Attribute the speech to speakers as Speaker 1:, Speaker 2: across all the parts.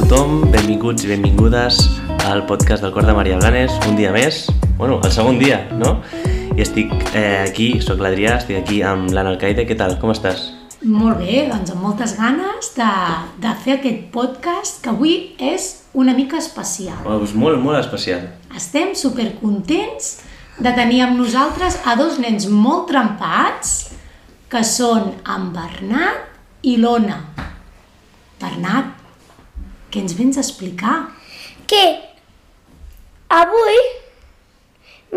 Speaker 1: tothom, benvinguts i benvingudes al podcast del Cor de Maria Blanes, un dia més, bueno, el segon dia, no? I estic eh, aquí, sóc l'Adrià, estic aquí amb l'Anna Alcaide, què tal, com estàs?
Speaker 2: Molt bé, doncs amb moltes ganes de, de fer aquest podcast que avui és una mica especial.
Speaker 1: Oh, és molt, molt especial.
Speaker 2: Estem supercontents de tenir amb nosaltres a dos nens molt trempats que són en Bernat i l'Ona. Bernat, què ens vens a explicar?
Speaker 3: que avui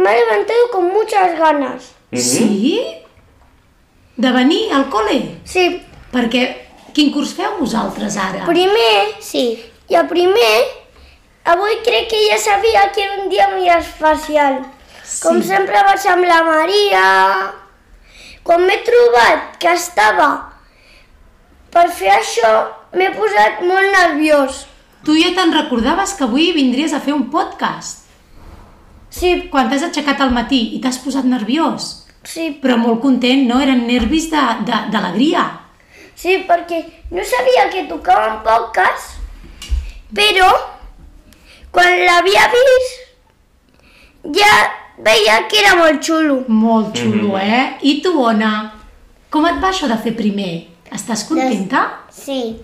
Speaker 3: me he levantado con muchas ganas.
Speaker 1: Mhm.
Speaker 2: Sí? De venir al col·le?
Speaker 3: Sí,
Speaker 2: Perquè Eh, quin curs feu vosaltres ara?
Speaker 3: primer, sí, i el primer, avui crec que ja sabia que era un dia molt especial.
Speaker 2: Sí.
Speaker 3: Com sempre vaig amb la Maria. Quan m'he trobat que estava per fer això, m'he posat molt nerviós.
Speaker 2: Tu ja te'n recordaves que avui vindries a fer un podcast.
Speaker 3: Sí,
Speaker 2: Quan t'has aixecat al matí i t'has posat nerviós,
Speaker 3: sí,
Speaker 2: però molt content, no? Eren nervis de- de- d'alegria.
Speaker 3: Sí, perquè no sabia que tocaven poques, però quan l'havia vist ja veia que era molt xulo.
Speaker 2: Molt
Speaker 3: Mm-hmm.
Speaker 2: xulo, eh? I tu, Ona, com et va això de fer primer? Estàs contenta?
Speaker 4: Sí,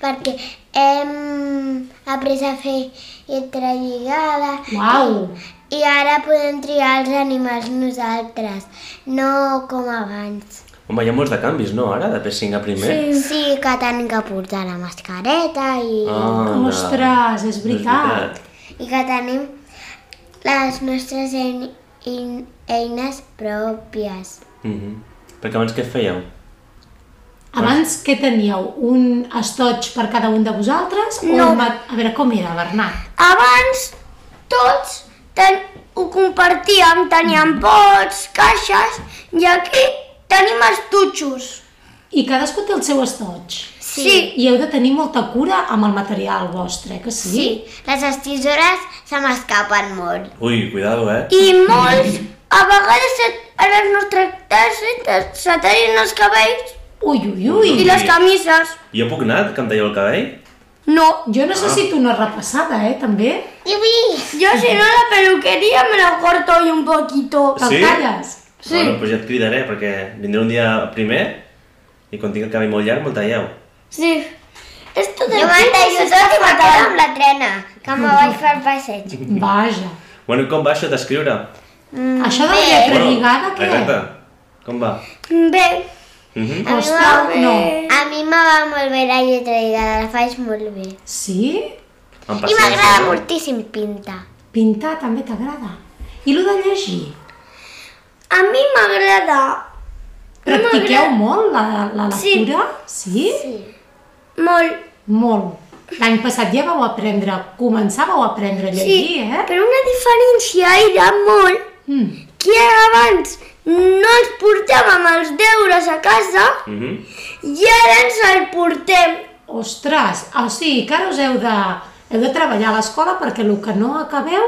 Speaker 4: perquè hem après a fer entrelligada
Speaker 2: Uau!
Speaker 4: i ara podem triar els animals nosaltres, no com abans.
Speaker 1: Home, hi ha molts de canvis, no, ara, de P5 a primer?
Speaker 4: Sí que tenim que portar la mascareta i,
Speaker 1: Anna,
Speaker 2: Ostres, és veritat.
Speaker 4: i que tenim les nostres ein- in- eines pròpies.
Speaker 1: Mhm. Perquè abans què fèieu?
Speaker 2: Abans què teníeu? Un estoig per cada un de vosaltres? O
Speaker 3: No.
Speaker 2: un mat- a veure, com era, Bernat?
Speaker 3: Abans tots ten ho compartíem,
Speaker 2: Mhm.
Speaker 3: teníem pots, caixes, i aquí tenim els tutxos.
Speaker 2: I cadascú té el seu estoig.
Speaker 3: Sí. sí.
Speaker 2: I heu de tenir molta cura amb el material vostre, que sí?
Speaker 4: Sí, les estisores se m'escapen molt.
Speaker 1: Ui, cuidado, eh?
Speaker 3: I molts, a vegades se- a les nostres tasses se tallen els cabells
Speaker 2: Ui, ui, ui.
Speaker 3: i les camises.
Speaker 1: Jo puc anar, que em talleu el cabell?
Speaker 3: No,
Speaker 2: Jo necessito una repassada, eh, també.
Speaker 4: Iubi!
Speaker 3: Yo si no la peluquería me la corto hoy un poquito.
Speaker 2: Te'l
Speaker 1: Sí?
Speaker 2: talles.
Speaker 3: Sí.
Speaker 1: Bueno, doncs ja et cridaré, perquè vindré un dia primer i quan tingui el cabell molt llarg me'l talleu.
Speaker 3: Sí. Esto de
Speaker 4: Jo me'n deixo tot i me'n quedo amb la trena, que me vaig fer el passeig.
Speaker 2: Vaja.
Speaker 1: Bueno, i com va això d'escriure?
Speaker 4: Mm,
Speaker 2: Això de
Speaker 4: bé.
Speaker 2: la lletra lligada, què?
Speaker 1: Exacte. Com va?
Speaker 3: Ve.
Speaker 1: Mhm.
Speaker 4: A mi
Speaker 2: Ostres,
Speaker 4: m'ha-
Speaker 2: no.
Speaker 4: A mi me va molt bé la lletra lligada, la faig molt bé.
Speaker 2: Sí?
Speaker 1: Em
Speaker 4: I
Speaker 1: passes,
Speaker 4: m'agrada
Speaker 1: no?
Speaker 4: moltíssim pintar.
Speaker 2: Pintar també t'agrada. I lo de llegir?
Speaker 3: A mí me agrada
Speaker 2: Practiqueu molt la, la lectura? Sí. sí?
Speaker 3: mol.
Speaker 2: Molt. L'any passat ja vau aprendre, començàveu a aprendre a llegir,
Speaker 3: Sí,
Speaker 2: eh?
Speaker 3: però una diferència era molt
Speaker 2: Mm.
Speaker 3: que abans no ens portàvem els deures a casa
Speaker 1: Mhm.
Speaker 3: i ara ens el portem.
Speaker 2: Ostres, o sigui que ara us heu de, heu de treballar a l'escola perquè el que no acabeu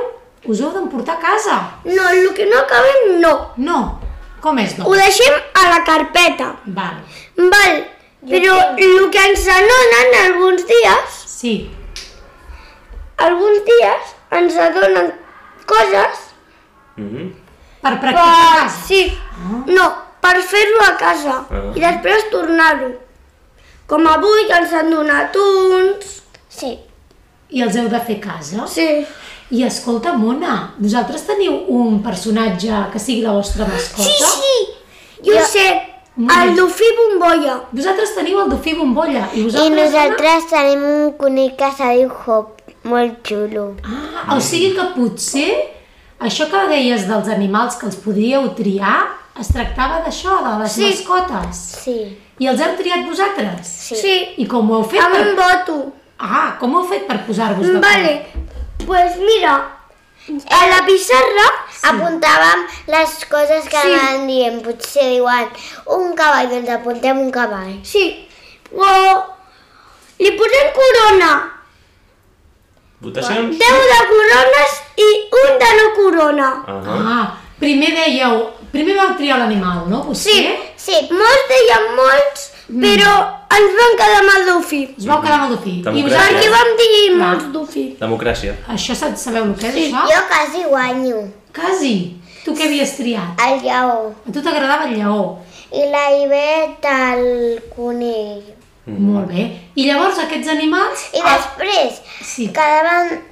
Speaker 2: us heu d'emportar a casa.
Speaker 3: No, el que no acabem no.
Speaker 2: No. Com és,
Speaker 3: Ho
Speaker 2: doncs?
Speaker 3: deixem a la carpeta.
Speaker 2: Val.
Speaker 3: Val, però el que ens anonen alguns dies
Speaker 2: Sí.
Speaker 3: alguns dies ens adonen coses
Speaker 1: Mhm.
Speaker 2: Per
Speaker 3: per...
Speaker 2: practicar Ah. a casa.
Speaker 3: Sí, no, per fer-ho a casa
Speaker 1: Ah.
Speaker 3: i després tornar-ho. Com avui que ens han donat uns...
Speaker 4: Sí.
Speaker 2: I els heu de fer a casa.
Speaker 3: Sí.
Speaker 2: I escolta, Mona, vosaltres teniu un personatge que sigui la vostra mascota?
Speaker 3: Sí, sí, jo,
Speaker 4: Jo-
Speaker 3: sé,
Speaker 2: Molt bé.
Speaker 3: el dofí bombolla.
Speaker 2: Vosaltres teniu el dofí bombolla i
Speaker 4: I
Speaker 2: vosaltres...
Speaker 4: nosaltres tenim un conill que se diu Hop, molt xulo.
Speaker 2: Anna? Ah, o sigui que potser això que deies dels animals que els podríeu triar es tractava d'això, de les
Speaker 3: Sí.
Speaker 2: mascotes.
Speaker 4: Sí.
Speaker 2: I els heu triat vosaltres?
Speaker 3: Sí, sí.
Speaker 2: I com ho heu fet?
Speaker 3: amb
Speaker 2: Per...
Speaker 3: un voto.
Speaker 2: Ah, com ho heu fet per posar-vos d'acord?
Speaker 3: Vale, pues mira, a la pissarra...
Speaker 4: Apuntàvem les coses que
Speaker 3: Sí.
Speaker 4: sí. anaven dient. Potser diuen un cavall, doncs apuntem un cavall.
Speaker 3: Sí, o li posem corona,
Speaker 1: Votacions? Ah.
Speaker 3: 10 de corones i un de no corona.
Speaker 1: Ahà.
Speaker 2: Ah, primer deieu... Primer vau triar l'animal, no? Potser? Mm.
Speaker 3: Sí, molts deien molts, però ens vam quedar amb el Dufi.
Speaker 2: Es vau quedar amb el dofí. I
Speaker 1: Democràcia.
Speaker 3: Perquè
Speaker 2: vosaltres...
Speaker 3: vam dir molts Dufi.
Speaker 1: Democràcia.
Speaker 2: Això sa- sabeu el que és, això?
Speaker 4: Jo quasi guanyo
Speaker 2: Quasi. Tu què havies triat?
Speaker 4: el lleó
Speaker 2: A tu t'agradava el lleó.
Speaker 4: i la Ivet el conill.
Speaker 2: Molt bé. I llavors aquests animals... Ah.
Speaker 4: I després
Speaker 2: Sí.
Speaker 4: quedaven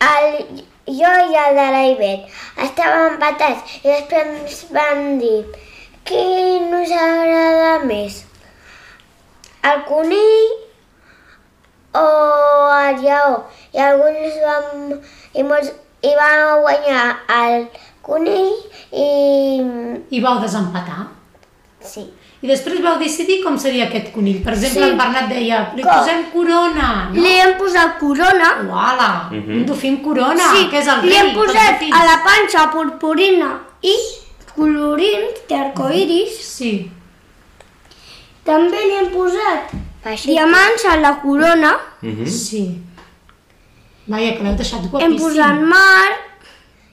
Speaker 4: el, jo i el de la Ivet. Estàvem empatats i després ens vam dir quin us agrada més, el conill o el lleó. I alguns vam... I, molts, i vam guanyar el conill i...
Speaker 2: I vau desempatar.
Speaker 4: Sí.
Speaker 2: I després vau decidir com seria aquest conill. Per exemple, sí. en Bernat deia, li
Speaker 4: Com?
Speaker 2: posem corona. No?
Speaker 3: Li hem posat corona.
Speaker 2: Uala,
Speaker 1: Mhm.
Speaker 2: un dofí amb corona,
Speaker 3: sí,
Speaker 2: que és el rei.
Speaker 3: li hem
Speaker 2: dels
Speaker 3: posat
Speaker 2: dofins.
Speaker 3: a la panxa purpurina i colorins d'arcoiris.
Speaker 2: Mhm. Sí,
Speaker 3: També li hem posat
Speaker 4: Feixi.
Speaker 3: diamants a la corona.
Speaker 1: Mhm.
Speaker 2: sí. Vaja, que l'heu deixat
Speaker 3: Hem
Speaker 2: guapíssim.
Speaker 3: posat mar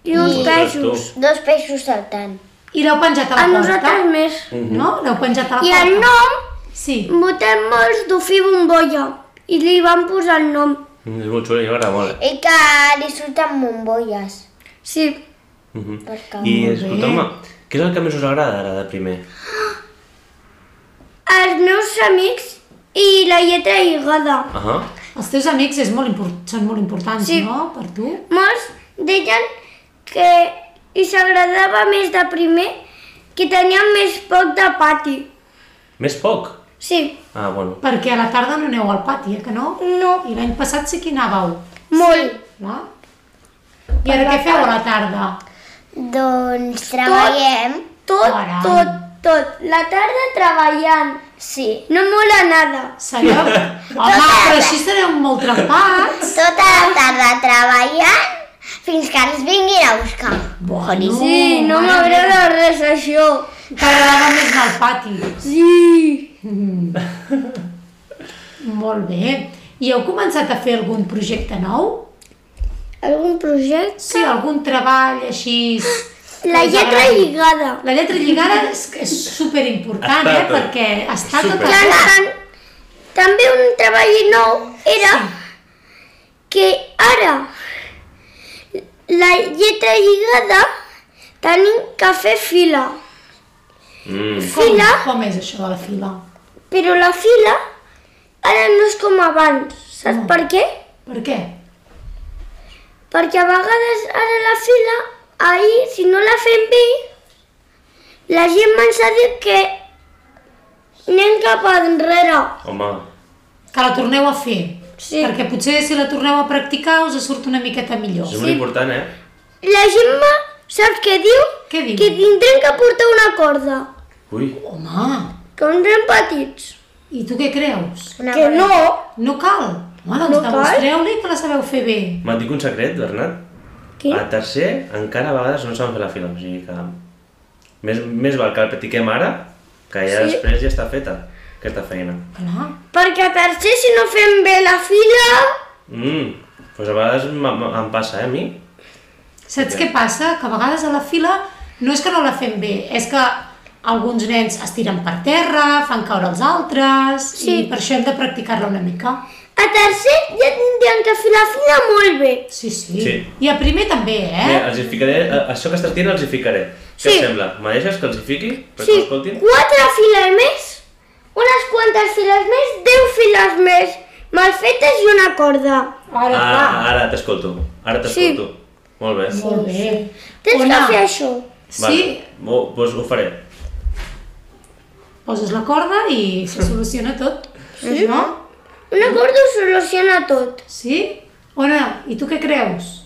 Speaker 3: i uns
Speaker 4: I-
Speaker 3: peixos.
Speaker 4: Dos peixos saltant.
Speaker 2: I l'heu penjat a la
Speaker 3: A
Speaker 2: porta?
Speaker 3: nosaltres més.
Speaker 1: Mhm.
Speaker 2: No? L'heu penjat a la
Speaker 3: I
Speaker 2: porta?
Speaker 3: el nom
Speaker 2: Sí.
Speaker 3: Votem molts Dofí Bombolla i li van posar el nom.
Speaker 1: Mm, És molt xulo i m'agrada molt.
Speaker 4: I que Ah, li surten bombolles.
Speaker 3: Sí,
Speaker 1: Mhm.
Speaker 4: Perquè
Speaker 1: I
Speaker 2: Molt bé.
Speaker 1: escolteu-me, què és el que més us agrada ara de primer?
Speaker 3: els meus amics i la lletra lligada.
Speaker 1: Ahà.
Speaker 2: Els teus amics és molt import... són molt importants,
Speaker 3: Sí.
Speaker 2: no? Per tu?
Speaker 3: Molts deien que i s'agradava més de primer que tenien més poc de pati.
Speaker 1: Més poc?
Speaker 3: Sí,
Speaker 1: Ah, bueno.
Speaker 2: Perquè a la tarda no aneu al pati, eh, que no?
Speaker 3: no,
Speaker 2: I l'any passat sí que hi anàveu,
Speaker 3: molt.
Speaker 2: no? I ara què feu a la tarda?
Speaker 4: Doncs treballem.
Speaker 3: Tot,
Speaker 2: Caram.
Speaker 3: tot, tot. La tarda treballant.
Speaker 4: Sí.
Speaker 3: No mola nada.
Speaker 2: Sereu... Home, però així sereu molt trempats.
Speaker 4: Tota la tarda treballant fins que ens vinguin a buscar.
Speaker 2: Bueno,
Speaker 3: Sí, no m'agrada res això.
Speaker 2: T'agradava més anar al pati.
Speaker 3: Sí.
Speaker 2: Molt bé. I heu començat a fer algun projecte nou?
Speaker 3: Algun projecte?
Speaker 2: Sí, algun treball així...
Speaker 3: La
Speaker 2: que us
Speaker 3: lletra
Speaker 2: agradi?
Speaker 3: lligada.
Speaker 2: La lletra lligada és, és superimportant,
Speaker 1: Està
Speaker 2: eh?
Speaker 1: tot.
Speaker 2: Perquè està tot
Speaker 1: Super.
Speaker 2: a...
Speaker 3: Clar, tan- també un treball nou era que ara la lletra lligada tenim que fer fila,
Speaker 1: Mm.
Speaker 2: Com,
Speaker 3: Fila.
Speaker 2: com és això de la fila?
Speaker 3: però la fila ara no és com abans. Saps
Speaker 2: No.
Speaker 3: per què?
Speaker 2: Per què?
Speaker 3: Perquè a vegades ara la fila, ahir, si no la fem bé, la gent ens ha dit que anem cap enrere.
Speaker 1: Home,
Speaker 2: Que la torneu a fer.
Speaker 3: Sí.
Speaker 2: Perquè potser si la torneu a practicar us surt una miqueta millor.
Speaker 1: és molt important, eh?
Speaker 3: La Gemma, saps què diu?
Speaker 2: Què diu?
Speaker 3: Que tindrem que portar una corda,
Speaker 1: Ui,
Speaker 2: Home,
Speaker 3: que uns nen petits.
Speaker 2: i tu què creus?
Speaker 4: Una
Speaker 3: que
Speaker 4: cosa.
Speaker 3: no,
Speaker 2: No cal. Home, doncs no
Speaker 3: No cal.
Speaker 2: demostreu-li que la sabeu fer bé.
Speaker 1: me'n dic un secret, Bernat.
Speaker 3: Què?
Speaker 1: A tercer, encara a vegades no saben fer la fila, o sigui que... Més, més val que la practiquem ara, que ja
Speaker 3: Sí.
Speaker 1: després ja està feta, aquesta feina.
Speaker 2: Clar.
Speaker 3: perquè a tercer si no fem bé la fila...
Speaker 1: Mm, doncs a vegades m- m- em passa, eh, a mi?
Speaker 2: Saps què passa? Que a vegades a la fila no és que no la fem bé, és que alguns nens es tiren per terra, fan caure els altres, sí. i per això hem de practicar-la una mica.
Speaker 3: A tercer ja tindrem que fer la fila molt bé.
Speaker 2: Sí, sí.
Speaker 1: Sí.
Speaker 2: I a primer també, eh?
Speaker 1: Mira, els hi ficaré, a- això que estàs dient els hi ficaré. Què
Speaker 3: Sí.
Speaker 1: et sembla? Me deixes que els hi fiqui? Perquè
Speaker 3: Sí,
Speaker 1: ho escoltin?
Speaker 3: quatre files més, unes quantes files més, deu files més, mal fetes i una corda.
Speaker 2: Ara,
Speaker 1: Ah, ara t'escolto, ara t'escolto. Molt bé.
Speaker 2: Molt bé.
Speaker 3: Tens
Speaker 2: Ona,
Speaker 3: que fer això.
Speaker 2: Sí,
Speaker 1: Vale. Ho, doncs ho faré.
Speaker 2: poses la corda i se soluciona tot. Sí. No?
Speaker 3: Una corda ho soluciona tot.
Speaker 2: Sí? Ona, i tu què creus?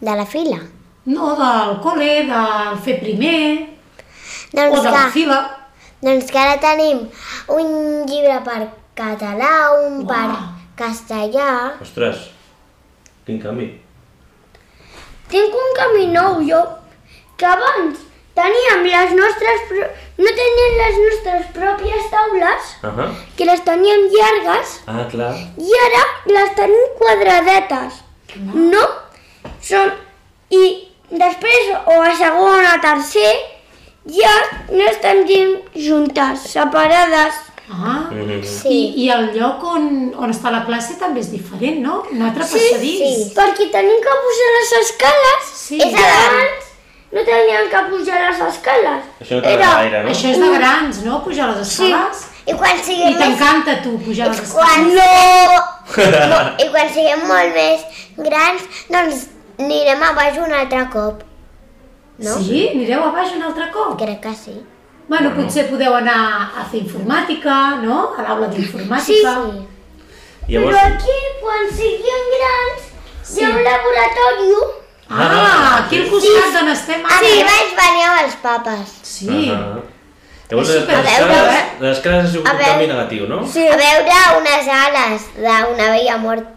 Speaker 4: De la fila.
Speaker 2: No, del col·le, del fer primer, o
Speaker 4: Doncs
Speaker 2: de la
Speaker 4: que,
Speaker 2: fila.
Speaker 4: doncs que ara tenim un llibre per català, un
Speaker 2: Uau.
Speaker 4: per castellà.
Speaker 1: Ostres, quin canvi.
Speaker 3: Tinc un camí nou jo, que abans teníem les nostres... pro- No teníem les nostres pròpies taules,
Speaker 1: Uh -huh.
Speaker 3: que les teníem llargues,
Speaker 1: Ah, clar.
Speaker 3: i ara les tenim quadradetes. No? Són... I després, o a segon o a tercer, ja no estan gent juntes, separades.
Speaker 2: Ah.
Speaker 1: Eh.
Speaker 4: Sí.
Speaker 2: I, I el lloc on, on està la classe també és diferent, no? Un altre passadís.
Speaker 3: Perquè tenim que pujar les escales.
Speaker 2: Sí.
Speaker 3: És abans no teníem que pujar les escales.
Speaker 1: Això no t'agrada gaire, no?
Speaker 2: Això és de grans, no? Pujar les escales.
Speaker 4: I quan
Speaker 2: I
Speaker 4: siguem més...
Speaker 2: t'encanta, tu, pujar les escales.
Speaker 4: Quan no... no! I quan siguem molt més grans, doncs anirem a baix un altre cop. no?
Speaker 2: Sí? Anireu a baix un altre cop?
Speaker 4: Crec que sí.
Speaker 2: Bueno, potser podeu anar a fer informàtica, no? A l'aula
Speaker 4: Sí,
Speaker 2: d'informàtica.
Speaker 4: sí.
Speaker 3: Però
Speaker 1: Llavors,
Speaker 3: aquí, quan siguem grans, hi ha un laboratori
Speaker 2: Ah, aquí al costat d'on estem ara.
Speaker 4: Sí, vaig venir amb els papes.
Speaker 2: Sí.
Speaker 1: Ah, Llavors,
Speaker 2: És eh?
Speaker 1: les,
Speaker 2: super-
Speaker 1: les,
Speaker 4: A veure,
Speaker 1: cases, les cases ha sigut
Speaker 4: a
Speaker 1: un
Speaker 4: veure.
Speaker 1: canvi negatiu, no?
Speaker 4: Sí. A veure unes ales d'una vella morta.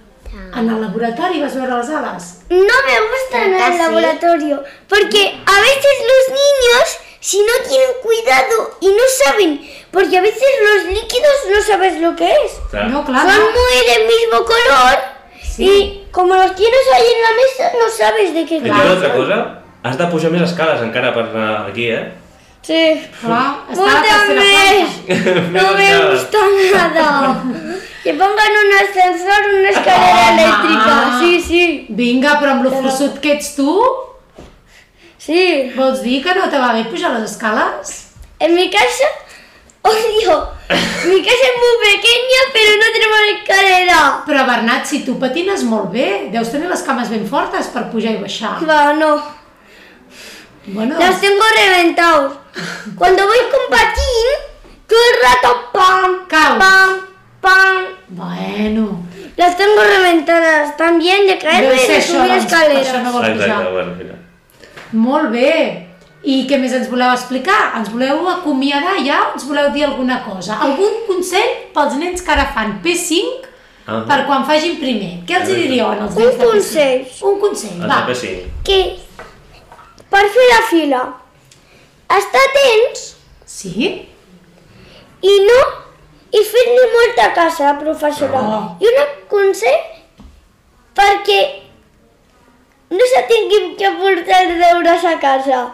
Speaker 2: En el laboratori vas veure les ales?
Speaker 3: No me gusta en
Speaker 4: Casi.
Speaker 3: el laboratorio, porque a veces los niños, si no tienen cuidado y no saben, porque a veces los líquidos no sabes lo que es,
Speaker 1: Clar.
Speaker 2: No, clar,
Speaker 3: son
Speaker 2: no.
Speaker 3: muy del mismo color
Speaker 2: Sí.
Speaker 3: y como los tienes ahí en la mesa no sabes de qué
Speaker 1: I una altra
Speaker 3: clase.
Speaker 1: cosa, has de pujar més escales encara per anar aquí, eh?
Speaker 3: Sí.
Speaker 2: Clar, està a la
Speaker 3: Puta
Speaker 2: tercera planta.
Speaker 3: mes, no me
Speaker 1: Nada.
Speaker 3: gusta nada. Que pongan un ascensor, una
Speaker 2: Ah.
Speaker 3: escalera eléctrica. Sí, sí,
Speaker 2: Vinga, però amb lo fossut que ets tu,
Speaker 3: sí.
Speaker 2: vols dir que no te va bé pujar les escales?
Speaker 3: En mi casa, odio. Mi casa es muy pequeña, pero no tenemos escalera.
Speaker 2: Però Bernat, si tu patines molt bé, deus tenir les cames ben fortes per pujar i baixar.
Speaker 3: Va, no.
Speaker 2: Bueno,
Speaker 3: Los tengo reventados. Cuando voy con patín, todo el rato pam,
Speaker 2: Caos.
Speaker 3: pam, pam.
Speaker 2: bueno.
Speaker 3: Las tengo reventadas también de
Speaker 2: Deu
Speaker 3: caerme y
Speaker 2: ser
Speaker 3: de
Speaker 2: això, doncs,
Speaker 3: subir
Speaker 2: per això no
Speaker 3: escaleras.
Speaker 2: vols pujar.
Speaker 1: Exacte, bueno, mira.
Speaker 2: Molt bé. I què més ens voleu explicar? Ens voleu acomiadar ja? Ens voleu dir alguna cosa? Algun consell pels nens que ara fan P5
Speaker 1: Ah.
Speaker 2: per quan fagin primer? Què els hi diríeu en els
Speaker 3: Un
Speaker 2: nens de P5?
Speaker 3: consell.
Speaker 2: Un consell,
Speaker 1: El
Speaker 2: va.
Speaker 1: paper sí.
Speaker 3: Que per fer la fila, estar atents
Speaker 2: Sí?
Speaker 3: i no i fer-li molta casa al professorat.
Speaker 2: No.
Speaker 3: I un consell perquè no se tinguin que portar els deures a casa.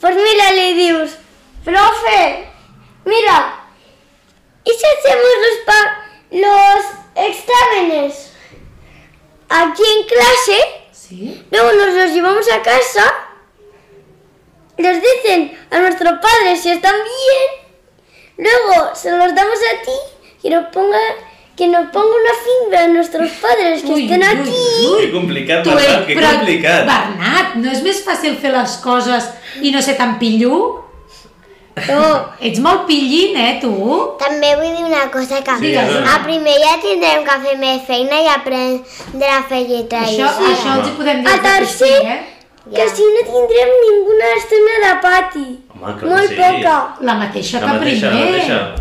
Speaker 3: Pues mira, li dius, profe, mira, ¿y si hacemos los, pa- los exámenes aquí en clase?
Speaker 2: Sí?
Speaker 3: Luego nos los llevamos a casa, les dicen a nuestros padres si están bien, luego se los damos a ti, que nos ponga, que nos ponga una finca a nuestros padres que
Speaker 2: Ui,
Speaker 3: estén
Speaker 2: ui,
Speaker 3: aquí.
Speaker 1: Ui, complicat,
Speaker 2: Tu, eh,
Speaker 1: Bernat, Ah, que complicat.
Speaker 2: Bernat, no és més fàcil fer les coses i no ser tan pillu?
Speaker 3: No,
Speaker 2: Ets molt pillín, eh, tu?
Speaker 4: També vull dir una cosa que
Speaker 1: Sí, a veure.
Speaker 4: a primer ja tindrem que fer més feina i aprendre a fer lletra i
Speaker 2: Això, això els hi podem dir.
Speaker 3: A
Speaker 2: als de P5,
Speaker 3: tercer-
Speaker 2: Eh?
Speaker 3: que si no tendrem ninguna escena de pati.
Speaker 1: Home, clar que
Speaker 3: Muy
Speaker 1: sí.
Speaker 3: poca.
Speaker 2: La
Speaker 1: La
Speaker 2: mateixa que
Speaker 1: mateixa, la
Speaker 2: primer.
Speaker 1: mateixa.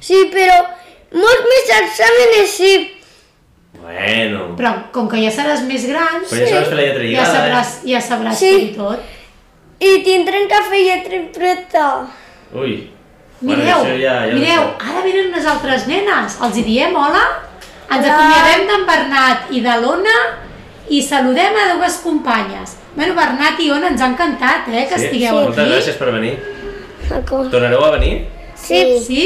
Speaker 3: Sí, pero molts més exàmenes sí.
Speaker 1: Bueno.
Speaker 2: Però com que ja seràs més gran,
Speaker 1: Però ja sabràs fer la lletra
Speaker 2: ja
Speaker 1: lligada, eh?
Speaker 2: sabràs, ja sabràs
Speaker 3: Sí.
Speaker 2: fer tot.
Speaker 3: I tindrem que fer lletra impreta.
Speaker 1: eh? Ui. Bueno,
Speaker 2: Mireu,
Speaker 1: això ja- ja ho
Speaker 2: mireu,
Speaker 1: sé.
Speaker 2: ara venen unes altres nenes. Els hi diem hola, ens acomiadem d'en Bernat i de l'Ona i saludem a dues companyes. Bueno, Bernat i Ona, ens ha encantat eh, que
Speaker 1: Sí,
Speaker 2: estigueu
Speaker 1: moltes
Speaker 2: aquí.
Speaker 1: gràcies per venir. Tornareu a venir?
Speaker 4: Sí.
Speaker 2: Sí?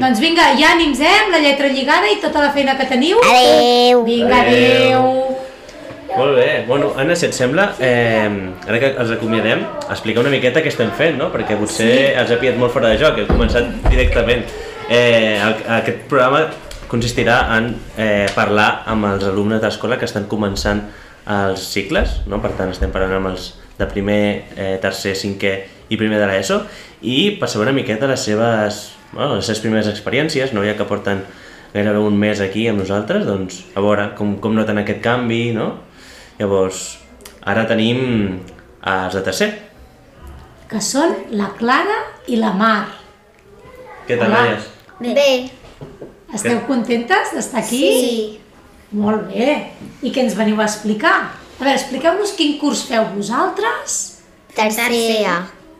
Speaker 2: Doncs vinga, ja ànims, eh, amb la lletra lligada i tota la feina que teniu.
Speaker 4: Adéu.
Speaker 2: Vinga,
Speaker 1: Adéu.
Speaker 2: adéu.
Speaker 1: Molt bé. Bueno, Anna, si et sembla, eh, ara que els acomiadem, explica una miqueta què estem fent, no? Perquè potser els ha pillat molt fora de joc, heu començat directament. Eh, el, aquest programa consistirà en eh, parlar amb els alumnes d'escola que estan començant els cicles, no? per tant estem parlant amb els de primer, eh, tercer, cinquè i primer de l'ESO i per saber una miqueta les seves, bueno, les seves primeres experiències, no? ja que porten gairebé un mes aquí amb nosaltres, doncs a veure com, com noten aquest canvi, no? Llavors, ara tenim els de tercer.
Speaker 2: Que són la Clara i la Mar.
Speaker 1: Què tal,
Speaker 2: Hola.
Speaker 1: noies?
Speaker 4: Bé.
Speaker 2: Esteu contentes d'estar aquí? Molt bé. I què ens veniu a explicar? A veure, expliqueu-nos quin curs feu vosaltres.
Speaker 4: Tercer A.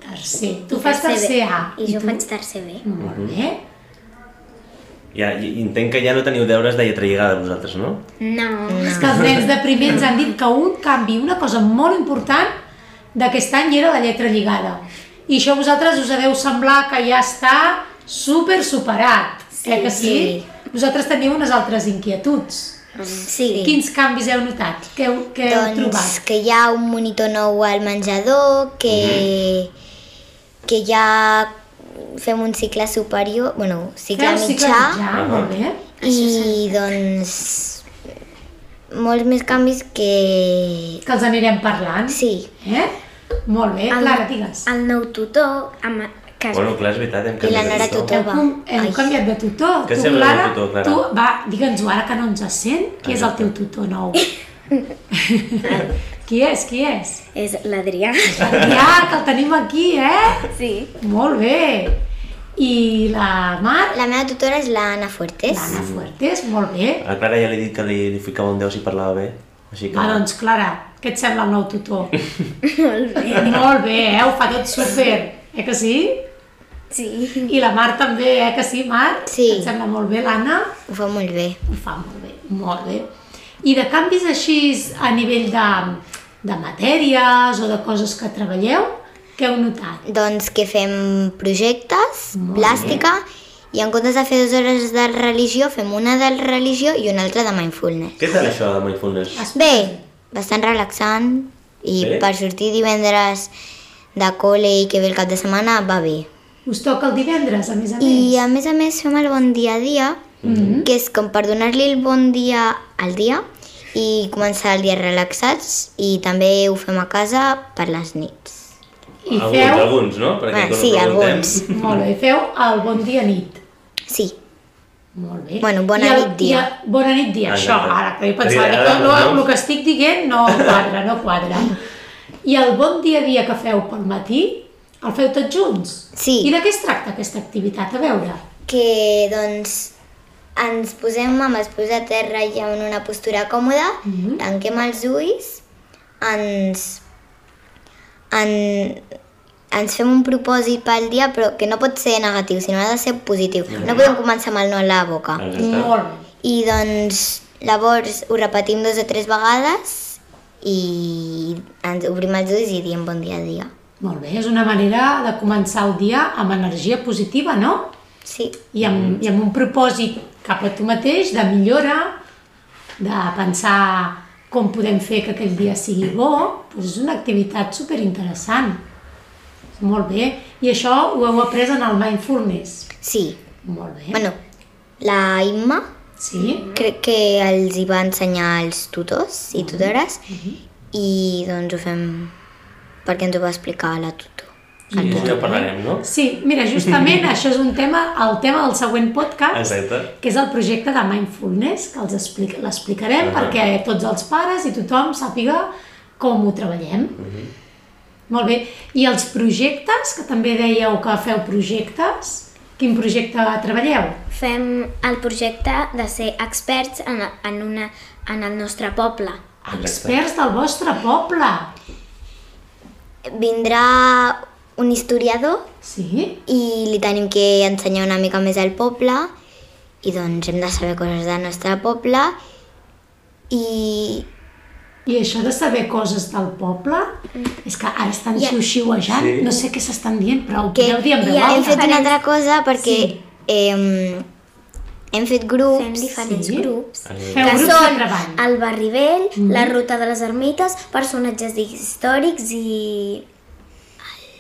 Speaker 2: Tercer. Tu fas tercer A.
Speaker 5: I jo
Speaker 2: tu?
Speaker 5: faig tercer B.
Speaker 2: Molt bé.
Speaker 1: Mhm. Ja, i- entenc que ja no teniu deures de lletra lligada vosaltres, no?
Speaker 5: No.
Speaker 2: És que els nens de primer ens han dit que un canvi, una cosa molt important d'aquest any era la lletra lligada. I això a vosaltres us deu semblar que ja està super superat,
Speaker 6: Sí,
Speaker 2: eh que sí?
Speaker 6: sí.
Speaker 2: Vosaltres teniu unes altres inquietuds.
Speaker 6: Sí.
Speaker 2: Quins canvis heu notat? Què heu, què heu
Speaker 6: Doncs
Speaker 2: trobat?
Speaker 6: que hi ha un monitor nou al menjador,
Speaker 2: Mhm.
Speaker 6: que, que ja fem un cicle superior, bueno, cicle
Speaker 2: Feu
Speaker 6: mitjà,
Speaker 2: cicle mitjà,
Speaker 1: Ah.
Speaker 2: molt bé.
Speaker 6: i doncs molts més canvis que...
Speaker 2: Que els anirem parlant.
Speaker 6: Sí,
Speaker 2: Eh? Molt bé, Clara, digues.
Speaker 7: El nou tutor, amb, que
Speaker 1: Bueno, clar, és veritat, hem
Speaker 6: i la
Speaker 1: canviat
Speaker 6: Nara
Speaker 1: de
Speaker 6: t'ho
Speaker 1: tutor.
Speaker 6: troba.
Speaker 2: Heu, heu
Speaker 6: Ai.
Speaker 2: canviat de tutor.
Speaker 1: Què
Speaker 2: tu,
Speaker 1: sembla
Speaker 2: Clara,
Speaker 1: el tutor, Clara? Ah,
Speaker 2: Tu, va, digue'ns-ho ara que no ens sent, qui és el teu tutor nou? qui és, qui és?
Speaker 7: és l'Adrià.
Speaker 2: Adrià, que el tenim aquí, eh?
Speaker 7: Sí.
Speaker 2: Molt bé. I la Mar?
Speaker 6: La meva tutora és l'Anna Fuertes.
Speaker 2: L'Anna Fuertes, molt bé.
Speaker 1: A Clara ja li he dit que li, li ficava un 10 si parlava bé, així que...
Speaker 2: Va, doncs, Clara, què et sembla el nou tutor? molt bé. Molt bé, eh? Ho fa tot super. Eh que sí?
Speaker 7: Sí.
Speaker 2: I la Mar també, eh que sí, Mar?
Speaker 6: Sí.
Speaker 2: Et sembla molt bé, l'Anna?
Speaker 6: Ho fa molt bé.
Speaker 2: Ho fa molt bé, molt bé. I de canvis així a nivell de, de matèries o de coses que treballeu, què heu notat?
Speaker 6: Doncs que fem projectes, plàstica, i en comptes de fer dues hores de religió, fem una de religió i una altra de mindfulness.
Speaker 1: Què tal això de mindfulness?
Speaker 2: Ah,
Speaker 6: Bé, bastant relaxant i
Speaker 1: Bé.
Speaker 6: per sortir divendres de col·le i que ve el cap de setmana va bé.
Speaker 2: Us toca el divendres, a més a més?
Speaker 6: I a més a més fem el bon dia a dia, Ah?
Speaker 2: Mm-hmm.
Speaker 6: que és com per donar-li el bon dia al dia i començar el dia relaxats i també ho fem a casa per les nits.
Speaker 2: I
Speaker 1: alguns,
Speaker 2: feu...
Speaker 1: alguns, no? Perquè
Speaker 6: Ah,
Speaker 1: quan ho
Speaker 6: sí,
Speaker 1: preguntem-
Speaker 6: alguns.
Speaker 2: Molt bé, feu el bon dia nit.
Speaker 6: Sí,
Speaker 2: Molt bé.
Speaker 6: Bueno, bona
Speaker 2: I el,
Speaker 6: nit
Speaker 2: i
Speaker 6: dia.
Speaker 2: el- bona nit dia,
Speaker 1: Ah,
Speaker 2: això,
Speaker 1: exacte.
Speaker 2: ara, que jo pensava
Speaker 1: Li
Speaker 2: que
Speaker 1: agrada,
Speaker 2: no,
Speaker 1: no?
Speaker 2: el que estic dient no quadra, no quadra. I el bon dia a dia que feu pel matí, el feu tots junts?
Speaker 6: Sí.
Speaker 2: I de què es tracta aquesta activitat? A veure.
Speaker 6: que doncs ens posem amb els peus a terra i en una postura còmoda,
Speaker 2: Mhm.
Speaker 6: tanquem els ulls, ens, en, ens fem un propòsit pel dia, però que no pot ser negatiu, sinó ha de ser positiu. No podem començar amb el no a la boca.
Speaker 1: Exacte.
Speaker 2: Molt bé.
Speaker 6: I doncs llavors ho repetim dos o tres vegades i ens obrim els ulls i diem bon dia a dia.
Speaker 2: Molt bé, és una manera de començar el dia amb energia positiva, no?
Speaker 6: Sí.
Speaker 2: I amb, mm. i amb un propòsit cap a tu mateix de millora, de pensar com podem fer que aquell dia sigui bo, doncs és una activitat superinteressant. Molt bé. I això ho heu après en el mindfulness.
Speaker 6: Sí.
Speaker 2: Molt bé.
Speaker 6: Bueno, la Imma
Speaker 2: Sí?
Speaker 6: Crec que els hi va ensenyar els tutors i tutores i doncs ho fem perquè ens ho va explicar la tutor.
Speaker 1: Sí, això ja parlarem, no?
Speaker 2: Sí, mira, justament això és un tema, el tema del següent podcast,
Speaker 1: Exacte.
Speaker 2: que és el projecte de Mindfulness, que els expli- l'explicarem
Speaker 1: Ah.
Speaker 2: perquè tots els pares i tothom sàpiga com ho treballem. Molt bé. I els projectes, que també dèieu que feu projectes, quin projecte treballeu?
Speaker 7: Fem el projecte de ser experts en, en, una, en el nostre poble.
Speaker 2: Ah, Experts del vostre poble.
Speaker 6: Vindrà un historiador
Speaker 2: Sí?
Speaker 6: i li tenim que ensenyar una mica més al poble i doncs hem de saber coses del nostre poble i
Speaker 2: I això de saber coses del poble, és que ara estan
Speaker 6: Ja.
Speaker 2: xiu-xiuejant,
Speaker 1: Sí.
Speaker 2: no sé què s'estan dient, però ho
Speaker 6: que
Speaker 2: podeu dir en veu
Speaker 6: ja hem
Speaker 2: alta.
Speaker 6: fet una altra cosa perquè
Speaker 2: Sí.
Speaker 6: em, hem fet
Speaker 7: Fem
Speaker 6: grups
Speaker 7: diferents
Speaker 2: sí.
Speaker 7: grups.
Speaker 2: Feu
Speaker 7: que
Speaker 2: grups de
Speaker 7: són
Speaker 2: treball. Mhm.
Speaker 7: el barrivell, la ruta de les ermites, personatges històrics i...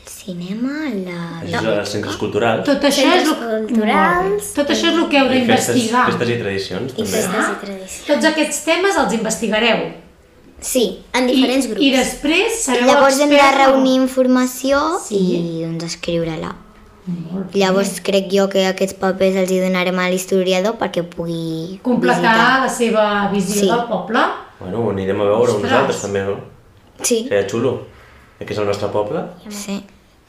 Speaker 6: cinema, la...
Speaker 1: Això és als centres culturals.
Speaker 2: Tot això és
Speaker 7: Centres
Speaker 2: lo...
Speaker 7: culturals.
Speaker 2: Molt bé. Tot això és el que heu
Speaker 1: I festes,
Speaker 2: d'investigar.
Speaker 1: festes i tradicions,
Speaker 7: i
Speaker 1: també.
Speaker 7: festes i tradicions.
Speaker 2: Tots aquests temes els investigareu.
Speaker 6: Sí,
Speaker 7: En diferents
Speaker 2: I,
Speaker 7: grups.
Speaker 2: I després
Speaker 6: I
Speaker 2: sereu
Speaker 6: Llavors hem de
Speaker 2: experts en-
Speaker 6: reunir informació
Speaker 2: Sí.
Speaker 6: i doncs escriure-la.
Speaker 2: Molt bé.
Speaker 6: Llavors crec jo que aquests papers els hi donarem a l'historiador perquè pugui
Speaker 2: Completar
Speaker 6: visitar.
Speaker 2: la seva visió
Speaker 6: Sí.
Speaker 2: del poble.
Speaker 1: Bueno, ho anirem a veure
Speaker 2: Ostres.
Speaker 1: nosaltres també, no?
Speaker 6: Sí,
Speaker 1: Seria xulo. Aquí és el nostre poble.
Speaker 6: sí.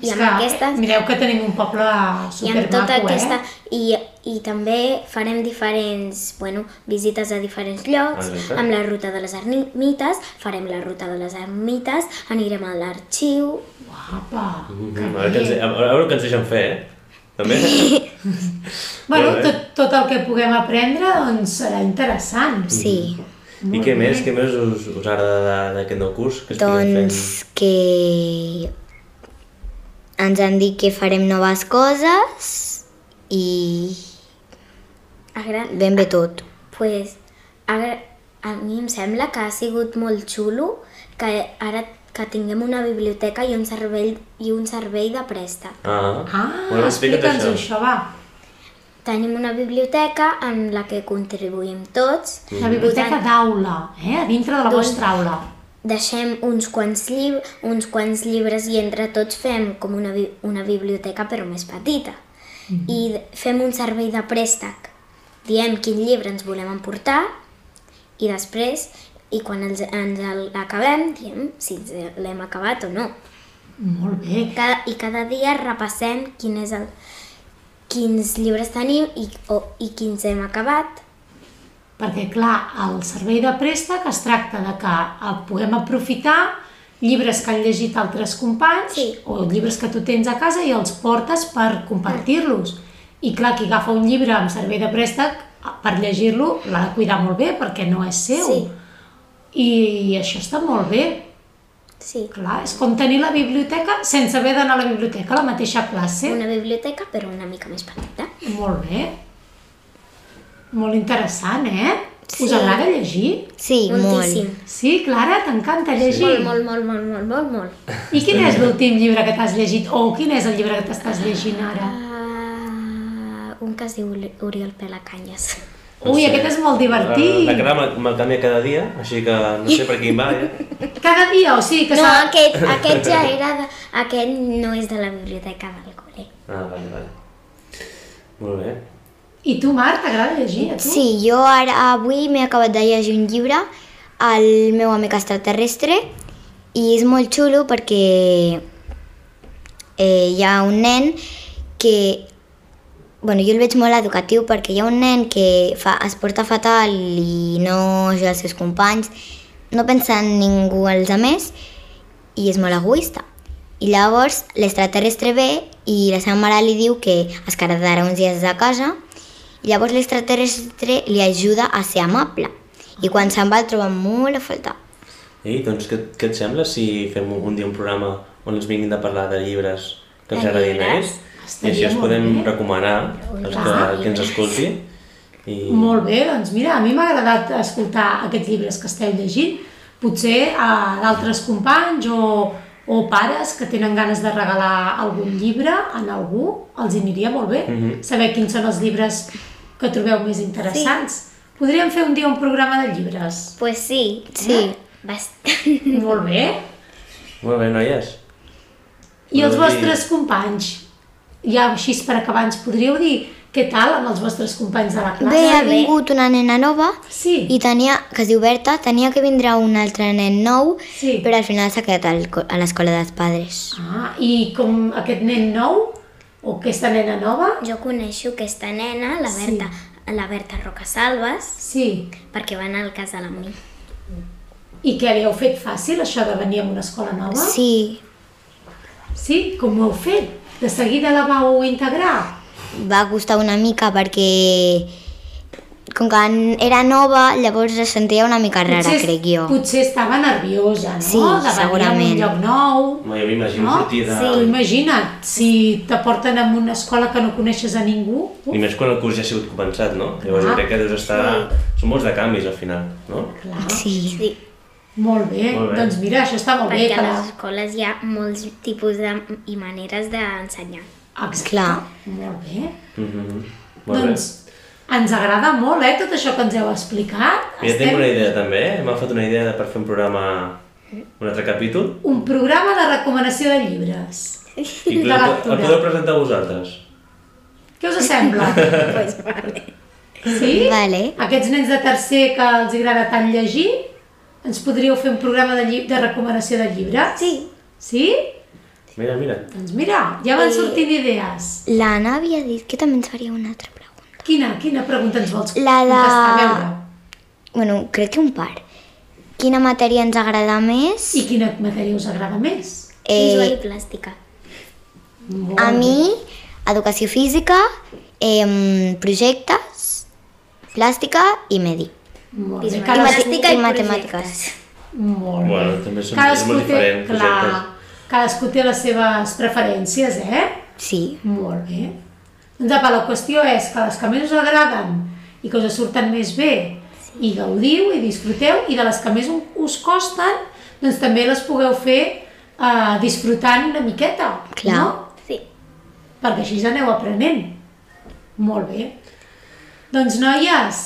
Speaker 7: I
Speaker 2: És
Speaker 7: amb
Speaker 2: que
Speaker 7: aquestes...
Speaker 2: Mireu que tenim un poble
Speaker 7: I amb tota
Speaker 2: supermaco,
Speaker 7: aquesta...
Speaker 2: eh?
Speaker 7: I, I també farem diferents, bueno, visites a diferents llocs,
Speaker 1: Exacte.
Speaker 7: amb la ruta de les ermites, farem la ruta de les ermites, anirem a l'arxiu...
Speaker 2: Guapa.
Speaker 1: Mm, a, veure què ens, a veure què ens deixen fer, eh? També.
Speaker 2: Bueno,
Speaker 1: Molt bé.
Speaker 2: tot, tot el que puguem aprendre doncs, serà interessant.
Speaker 6: sí.
Speaker 1: I què més? Què més us, us agrada de- d'aquest nou curs? Que estiguem
Speaker 6: Doncs que ens han dit que farem noves coses i
Speaker 7: Agra...
Speaker 6: ben bé tot.
Speaker 7: Pues, ara, a mi em sembla que ha sigut molt xulo que ara que tinguem una biblioteca i un servei, i un servei de préstec.
Speaker 1: Ah,
Speaker 2: Ah,
Speaker 1: Bueno, explica't
Speaker 2: explica'ns això. va.
Speaker 7: Tenim una biblioteca en la que contribuïm tots,
Speaker 2: La biblioteca d'aula, eh? A dintre de la
Speaker 7: Doncs-
Speaker 2: vostra aula.
Speaker 7: deixem uns quants, llib uns quants llibres i entre tots fem com una, bi una biblioteca però més petita. Mm
Speaker 2: Mm-hmm.
Speaker 7: -hmm. I d- fem un servei de préstec. Diem quin llibre ens volem emportar i després, i quan ens, ens l'acabem, diem si ens l'hem acabat o no.
Speaker 2: Molt bé.
Speaker 7: Cada, I cada dia repassem quin és el, quins llibres tenim i, o, i quins hem acabat.
Speaker 2: Perquè, clar, el servei de préstec es tracta de que eh, puguem aprofitar llibres que han llegit altres companys
Speaker 7: Sí.
Speaker 2: o llibres que tu tens a casa i els portes per compartir-los. I clar, qui agafa un llibre amb servei de préstec eh, per llegir-lo l'ha de cuidar molt bé perquè no és seu.
Speaker 7: Sí.
Speaker 2: I això està molt bé.
Speaker 7: Sí,
Speaker 2: Clar, és com tenir la biblioteca sense haver d'anar a la biblioteca, a la mateixa classe.
Speaker 7: una biblioteca però una mica més petita.
Speaker 2: Molt bé. Molt interessant, eh? Us agrada llegir?
Speaker 6: Sí,
Speaker 7: Moltíssim.
Speaker 2: Sí, Clara, t'encanta llegir.
Speaker 7: Molt, molt, molt, molt, molt, molt, molt.
Speaker 2: I quin és l'últim llibre que t'has llegit? O quin és el llibre que t'estàs llegint ara?
Speaker 7: Uh, un que es diu Ori- Oriol Pelacanyes.
Speaker 2: Ui, aquest és molt divertit.
Speaker 1: La cara me'l me canvia cada dia, així que no sé per quin va. Eh?
Speaker 2: Cada dia, o sigui que
Speaker 7: No,
Speaker 2: s'ha...
Speaker 7: aquest, aquest ja era de... Aquest no és de la biblioteca del col·le.
Speaker 1: Ah, vale, vale. Molt bé.
Speaker 2: I tu, Marc, t'agrada llegir? A tu?
Speaker 6: Sí, jo ara avui m'he acabat de llegir un llibre, El meu amic extraterrestre, i és molt xulo perquè eh, hi ha un nen que... bueno, jo el veig molt educatiu perquè hi ha un nen que fa, es porta fatal i no ajuda els seus companys, no pensa en ningú els altres i és molt egoista. I llavors l'extraterrestre ve i la seva mare li diu que es quedarà uns dies a casa i llavors l'extraterrestre li ajuda a ser amable. I quan se'n va el troba molt a faltar.
Speaker 1: I doncs què, què et sembla si fem un, un dia un programa on ens vinguin de parlar de llibres que ens agradin a ells? I així
Speaker 2: Estaria
Speaker 1: els
Speaker 2: molt
Speaker 1: podem
Speaker 2: bé.
Speaker 1: recomanar als que, que ens escolti. I...
Speaker 2: Molt bé, doncs mira, a mi m'ha agradat escoltar aquests llibres que esteu llegint. Potser a d'altres companys o, o pares que tenen ganes de regalar algun llibre a algú, els hi aniria molt bé
Speaker 1: Mhm.
Speaker 2: saber quins són els llibres que trobeu més interessants. Podríem fer un dia un programa de llibres.
Speaker 7: Pues sí.
Speaker 6: Sí.
Speaker 7: Bastant.
Speaker 2: molt bé.
Speaker 1: Molt bé, noies.
Speaker 2: I
Speaker 1: Podeu
Speaker 2: els
Speaker 1: dir-
Speaker 2: vostres companys? Ja així per acabar, ens podríeu dir què tal amb els vostres companys de la classe?
Speaker 6: Bé, ha vingut una nena nova
Speaker 2: Sí.
Speaker 6: i tenia, que es diu Berta, tenia que vindrà un altre nen nou,
Speaker 2: Sí.
Speaker 6: però al final s'ha quedat al, co- a l'escola dels padres.
Speaker 2: Ah, i com aquest nen nou o aquesta nena nova?
Speaker 7: Jo coneixo aquesta nena, la
Speaker 2: Sí.
Speaker 7: Berta, la Berta Rocasalves,
Speaker 2: Sí.
Speaker 7: perquè va anar al cas de la Moni.
Speaker 2: I què, li heu fet fàcil, això de venir a una escola nova?
Speaker 6: Sí,
Speaker 2: Sí? Com ho heu fet? De seguida la vau integrar?
Speaker 6: va costar una mica perquè com que n- era nova, llavors es sentia una mica rara,
Speaker 2: Potser-
Speaker 6: crec jo.
Speaker 2: Potser estava nerviosa, no?
Speaker 6: Sí,
Speaker 2: de
Speaker 6: segurament.
Speaker 2: venir a un lloc nou.
Speaker 1: No, jo m'imagino
Speaker 2: No?
Speaker 1: sortir de...
Speaker 2: Tu imagina't, si t'aporten a una escola que no coneixes a ningú,
Speaker 1: I més quan el curs ja ha sigut començat, no? Llavors
Speaker 2: Ah.
Speaker 1: jo crec que deus estar... Són molts de canvis al final, no?
Speaker 2: clar.
Speaker 6: Sí.
Speaker 7: Sí,
Speaker 2: Molt bé.
Speaker 1: Molt bé.
Speaker 2: doncs mira, això està molt bé.
Speaker 7: perquè
Speaker 2: Que
Speaker 7: a
Speaker 2: la...
Speaker 7: les escoles hi ha molts tipus de, i maneres d'ensenyar.
Speaker 2: Exacte.
Speaker 6: Clar.
Speaker 2: Molt bé.
Speaker 1: Mhm. Molt
Speaker 2: Doncs ens agrada molt, eh, tot això que ens heu explicat.
Speaker 1: bé. Ja tinc una idea també, eh? M'ha fet una idea de per fer un programa... Un altre capítol.
Speaker 2: un programa de recomanació de llibres.
Speaker 1: I
Speaker 2: De
Speaker 1: podeu,
Speaker 2: lectura.
Speaker 1: el podeu presentar vosaltres.
Speaker 2: Què us sembla?
Speaker 7: Pues vale.
Speaker 2: Sí?
Speaker 6: Vale.
Speaker 2: Aquests nens de tercer que els agrada tant llegir, ens podríeu fer un programa de, lli... de recomanació de llibres?
Speaker 7: Sí.
Speaker 2: Sí?
Speaker 1: Mira, mira.
Speaker 2: Doncs mira, ja van sortint idees.
Speaker 6: L'Anna havia dit que també ens faria una altra pregunta.
Speaker 2: Quina, quina pregunta ens vols
Speaker 6: La de-
Speaker 2: contestar? A veure.
Speaker 6: Bueno, crec que un par. Quina matèria ens agrada més?
Speaker 2: I quina matèria us agrada més?
Speaker 7: Visual
Speaker 6: Eh,
Speaker 7: i plàstica.
Speaker 2: Molt
Speaker 6: a mi, educació física, eh, projectes, plàstica i medi.
Speaker 2: Molt bé.
Speaker 7: Visual.
Speaker 6: I,
Speaker 2: Cada...
Speaker 6: mate-
Speaker 7: Plàstica i
Speaker 6: matemàtiques.
Speaker 2: Molt bé.
Speaker 1: Bueno, també són- és
Speaker 2: Cadascú
Speaker 1: molt diferent,
Speaker 2: Té, clar,
Speaker 1: projectes.
Speaker 2: cadascú té les seves preferències, eh?
Speaker 6: Sí.
Speaker 2: Molt bé. Doncs apa, la qüestió és que les que més us agraden i que us surten més bé i gaudiu i disfruteu i de les que més us costen, doncs també les pugueu fer eh, disfrutant una miqueta,
Speaker 6: Clar.
Speaker 2: no? Sí. Perquè així aneu aprenent. Molt bé. Doncs noies,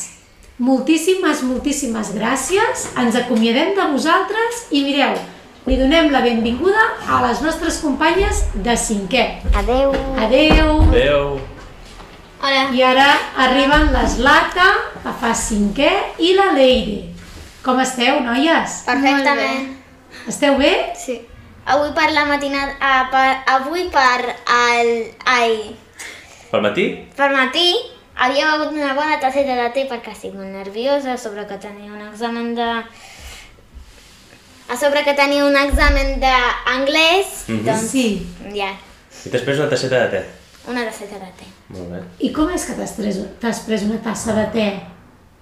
Speaker 2: moltíssimes, moltíssimes gràcies. Ens acomiadem de vosaltres i mireu, li donem la benvinguda a les nostres companyes de cinquè.
Speaker 4: Adeu.
Speaker 2: Adeu!
Speaker 1: Adeu!
Speaker 2: I ara arriben les Lata, que fa cinquè, i la Leire. Com esteu, noies?
Speaker 5: Perfectament.
Speaker 2: Esteu bé?
Speaker 5: Sí. Avui per la matinada... ah, per, avui per el... Ai,
Speaker 1: Pel matí?
Speaker 5: per matí havia begut una bona tasseta de te perquè estic molt nerviosa, a sobre que tenia un examen de... A sobre que tenia un examen d'anglès,
Speaker 1: Mhm.
Speaker 5: doncs
Speaker 2: Sí.
Speaker 5: ja,
Speaker 1: I t'has pres una tasseta de te.
Speaker 5: una tasseta de te.
Speaker 1: Molt bé.
Speaker 2: I com és que t'has pres, t'has pres una tassa de te?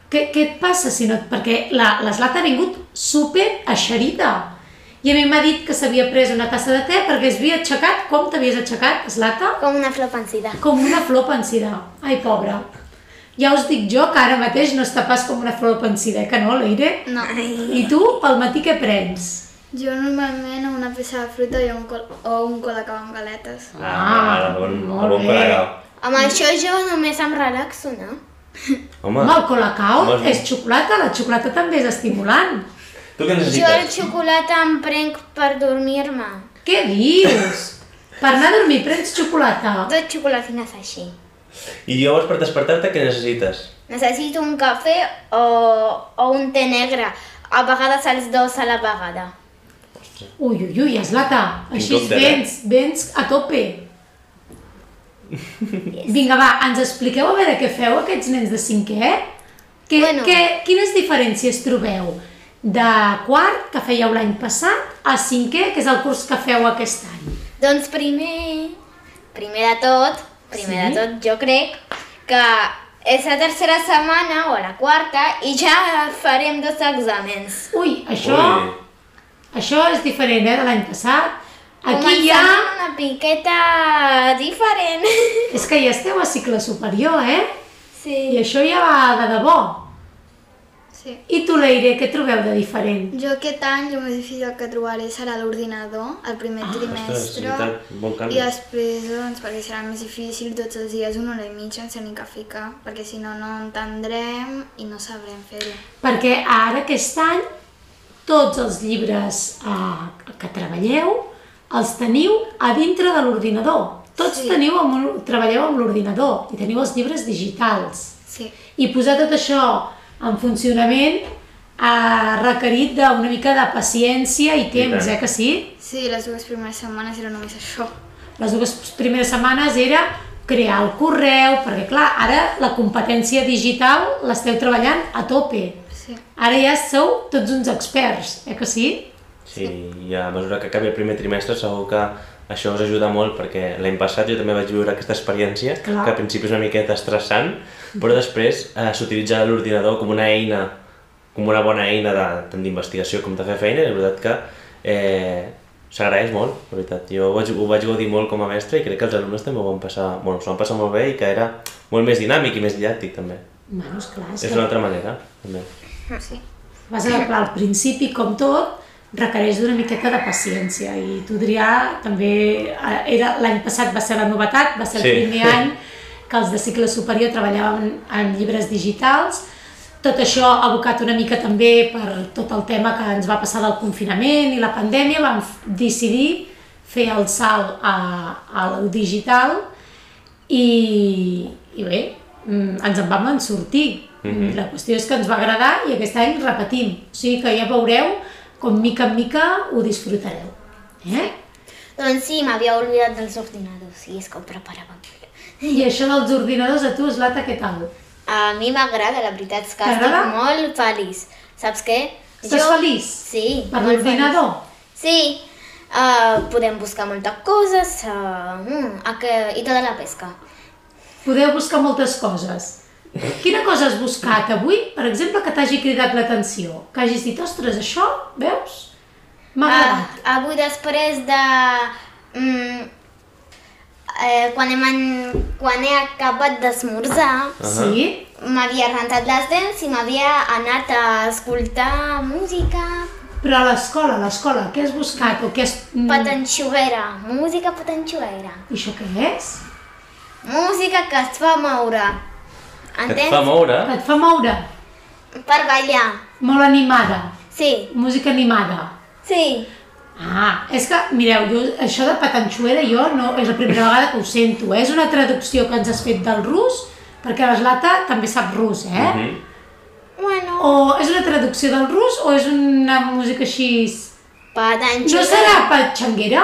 Speaker 2: Què, què et passa si no... et- Perquè la, la Zlata ha vingut super eixerida. I a mi m'ha dit que s'havia pres una tassa de te perquè es havia aixecat. Com t'havies aixecat, Zlata?
Speaker 5: Com una flor pansida.
Speaker 2: Com una flor pensida. Ai, pobra. Ja us dic jo que ara mateix no està pas com una flor pensida, eh, que no, Leire?
Speaker 8: No.
Speaker 1: Mm-hmm.
Speaker 2: I tu, pel matí què prens?
Speaker 8: Jo normalment una peça de fruita i un col o un colacau amb galetes.
Speaker 2: Ah,
Speaker 1: el bon,
Speaker 2: molt
Speaker 1: el bon
Speaker 2: bé.
Speaker 1: colacao.
Speaker 5: Amb això jo només em relaxo, no?
Speaker 1: Home,
Speaker 2: Home, el colacao
Speaker 1: Molt bé.
Speaker 2: és xocolata, la xocolata també és estimulant.
Speaker 1: tu
Speaker 2: Doncs
Speaker 1: què
Speaker 5: Jo el
Speaker 1: necessites?
Speaker 5: xocolata em prenc per dormir-me.
Speaker 2: Què dius? Per anar a dormir prens xocolata?
Speaker 5: Dos xocolatines així.
Speaker 1: I llavors per despertar-te què necessites?
Speaker 5: Necessito un cafè o, o un te negre. A vegades els dos a la vegada.
Speaker 2: Ui, ui, ui, eslata, així
Speaker 1: dubte,
Speaker 2: vens, vens a tope. Vinga, va, ens expliqueu a veure què feu aquests nens de cinquè? Que, bueno.
Speaker 5: Bueno.
Speaker 2: que, quines diferències trobeu de quart, que fèieu l'any passat, a cinquè, que és el curs que feu aquest any?
Speaker 5: Doncs primer, primer de tot, primer
Speaker 2: Sí.
Speaker 5: de tot jo crec que és la tercera setmana o la quarta i ja farem dos exàmens.
Speaker 2: Ui, això,
Speaker 1: Ui.
Speaker 2: això és diferent eh, de l'any passat. Aquí
Speaker 5: Començarem
Speaker 2: ja...
Speaker 5: una piqueta diferent.
Speaker 2: És que ja esteu a cicle superior, eh? I
Speaker 5: Sí.
Speaker 2: això ja va de debò.
Speaker 8: Sí.
Speaker 2: I tu, Leire, què trobeu de diferent?
Speaker 8: Jo aquest any el més difícil que trobaré serà l'ordinador, el primer
Speaker 1: Ah, Ostres,
Speaker 8: trimestre.
Speaker 1: veritat, bon
Speaker 8: I
Speaker 1: canvi.
Speaker 8: després, doncs, perquè serà més difícil tots els dies una hora i mitja, no sé ni què ficar, perquè si no, no entendrem i no sabrem fer-ho.
Speaker 2: Perquè ara aquest any tots els llibres eh, que treballeu els teniu a dintre de l'ordinador. Tots sí.
Speaker 8: Sí.
Speaker 2: teniu amb, un- treballeu amb l'ordinador i teniu els llibres digitals.
Speaker 8: Sí.
Speaker 2: I posar tot això en funcionament ha requerit d'una mica de paciència i temps,
Speaker 1: tant.
Speaker 2: eh, que sí?
Speaker 8: Sí, les dues primeres setmanes era només això.
Speaker 2: les dues primeres setmanes era crear el correu, perquè clar, ara la competència digital l'esteu treballant a tope.
Speaker 8: Sí.
Speaker 2: Ara ja sou tots uns experts, eh que sí?
Speaker 1: Sí, i a mesura que acabi el primer trimestre segur que això us ajuda molt perquè l'any passat jo també vaig viure aquesta experiència
Speaker 2: Clar.
Speaker 1: que al principi és una miqueta estressant però després eh, s'utilitza l'ordinador com una eina com una bona eina de, tant d'investigació com de fer feina i la veritat que eh, s'agraeix molt, la veritat. Jo ho vaig, ho vaig gaudir molt com a mestre i crec que els alumnes també ho van passar, bueno, s'ho van passar molt bé i que era molt més dinàmic i més didàctic també.
Speaker 2: Bueno, esclar, és
Speaker 1: És
Speaker 2: que
Speaker 1: una altra manera, també.
Speaker 2: vas a clar, al principi, com tot, requereix d'una miqueta de paciència i tu, Adrià, també eh, era l'any passat va ser la novetat, va ser sí.
Speaker 1: Sí.
Speaker 2: el primer any que els de cicle superior treballaven en llibres digitals. Tot això abocat una mica també per tot el tema que ens va passar del confinament i la pandèmia, vam f- decidir fer el salt a, a lo digital i, i bé, mm, ens en vam en sortir. Mm -hmm. La qüestió és que ens va agradar i aquest any repetim. O sigui que ja veureu com mica en mica ho disfrutareu. Eh?
Speaker 5: Doncs sí, m'havia oblidat dels ordinadors i és que ho preparava molt.
Speaker 2: I això dels ordinadors a tu, Eslata, què tal?
Speaker 5: A mi m'agrada, la veritat és que estic
Speaker 2: T'agrada?
Speaker 5: molt feliç. Saps què?
Speaker 2: Estàs feliç?
Speaker 5: Sí,
Speaker 2: Per
Speaker 5: molt
Speaker 2: l'ordinador?
Speaker 5: feliç. Sí, uh, podem buscar moltes coses uh, mm, a que, i tota la pesca.
Speaker 2: Podeu buscar moltes coses. Quina cosa has buscat avui, per exemple, que t'hagi cridat l'atenció? Que hagis dit, ostres, això, veus? M'ha
Speaker 5: Ah,
Speaker 2: agradat.
Speaker 5: avui després de... Mm, eh, quan, hem en... quan he acabat d'esmorzar,
Speaker 2: Sí?
Speaker 5: m'havia rentat les dents i m'havia anat a escoltar música
Speaker 2: Però a l'escola, a l'escola, què has buscat o què has... mm,
Speaker 5: patanxuguera, música patanxuguera.
Speaker 2: I això què és?
Speaker 5: Música que et fa moure.
Speaker 1: Que et fa
Speaker 5: Entens?
Speaker 1: moure.
Speaker 2: Que et fa moure,
Speaker 5: Per ballar.
Speaker 2: molt animada,
Speaker 5: Sí,
Speaker 2: música animada.
Speaker 5: sí.
Speaker 2: Ah, és que, mireu, jo, això de patanxuera jo no, és la primera vegada que ho sento, eh? és una traducció que ens has fet del rus, perquè la Zlata també sap rus, eh?
Speaker 1: Mhm.
Speaker 5: Bueno,
Speaker 2: O és una traducció del rus o és una música així...
Speaker 5: patanxuguera.
Speaker 2: No serà patxanguera?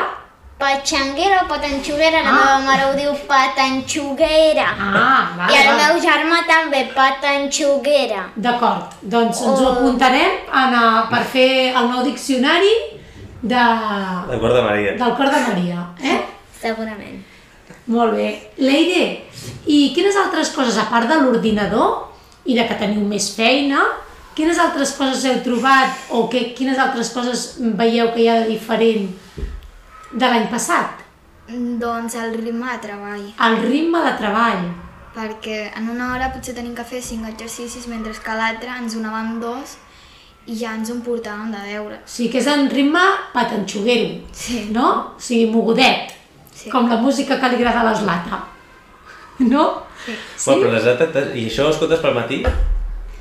Speaker 5: Patxanguera o patanxuguera, la
Speaker 2: Ah.
Speaker 5: meva mare ho diu patanxuguera.
Speaker 2: Ah, va,
Speaker 5: I el
Speaker 2: va.
Speaker 5: meu germà també, patanxuguera.
Speaker 2: D'acord, doncs ens ho
Speaker 5: O-
Speaker 2: apuntarem en, eh, per fer el nou diccionari de,
Speaker 1: D'acord, de Maria.
Speaker 2: del cor de Maria. Eh?
Speaker 5: Segurament.
Speaker 2: Molt bé. Leire, i quines altres coses, a part de l'ordinador i de que teniu més feina, quines altres coses heu trobat o que, quines altres coses veieu que hi ha de diferent de l'any passat?
Speaker 9: Doncs el ritme de treball,
Speaker 2: El ritme de treball.
Speaker 9: perquè en una hora potser tenim que fer cinc exercicis, mentre que a l'altra ens donaven dos i ja ens en portàvem de deures.
Speaker 2: O sigui, que és en ritme patanxuguero,
Speaker 9: Sí.
Speaker 2: no? O sigui, mogudet,
Speaker 9: Sí.
Speaker 2: com la música que li agrada a l'Eslata, no?
Speaker 1: Sí? Bueno, però les dates, i això ho escoltes pel matí?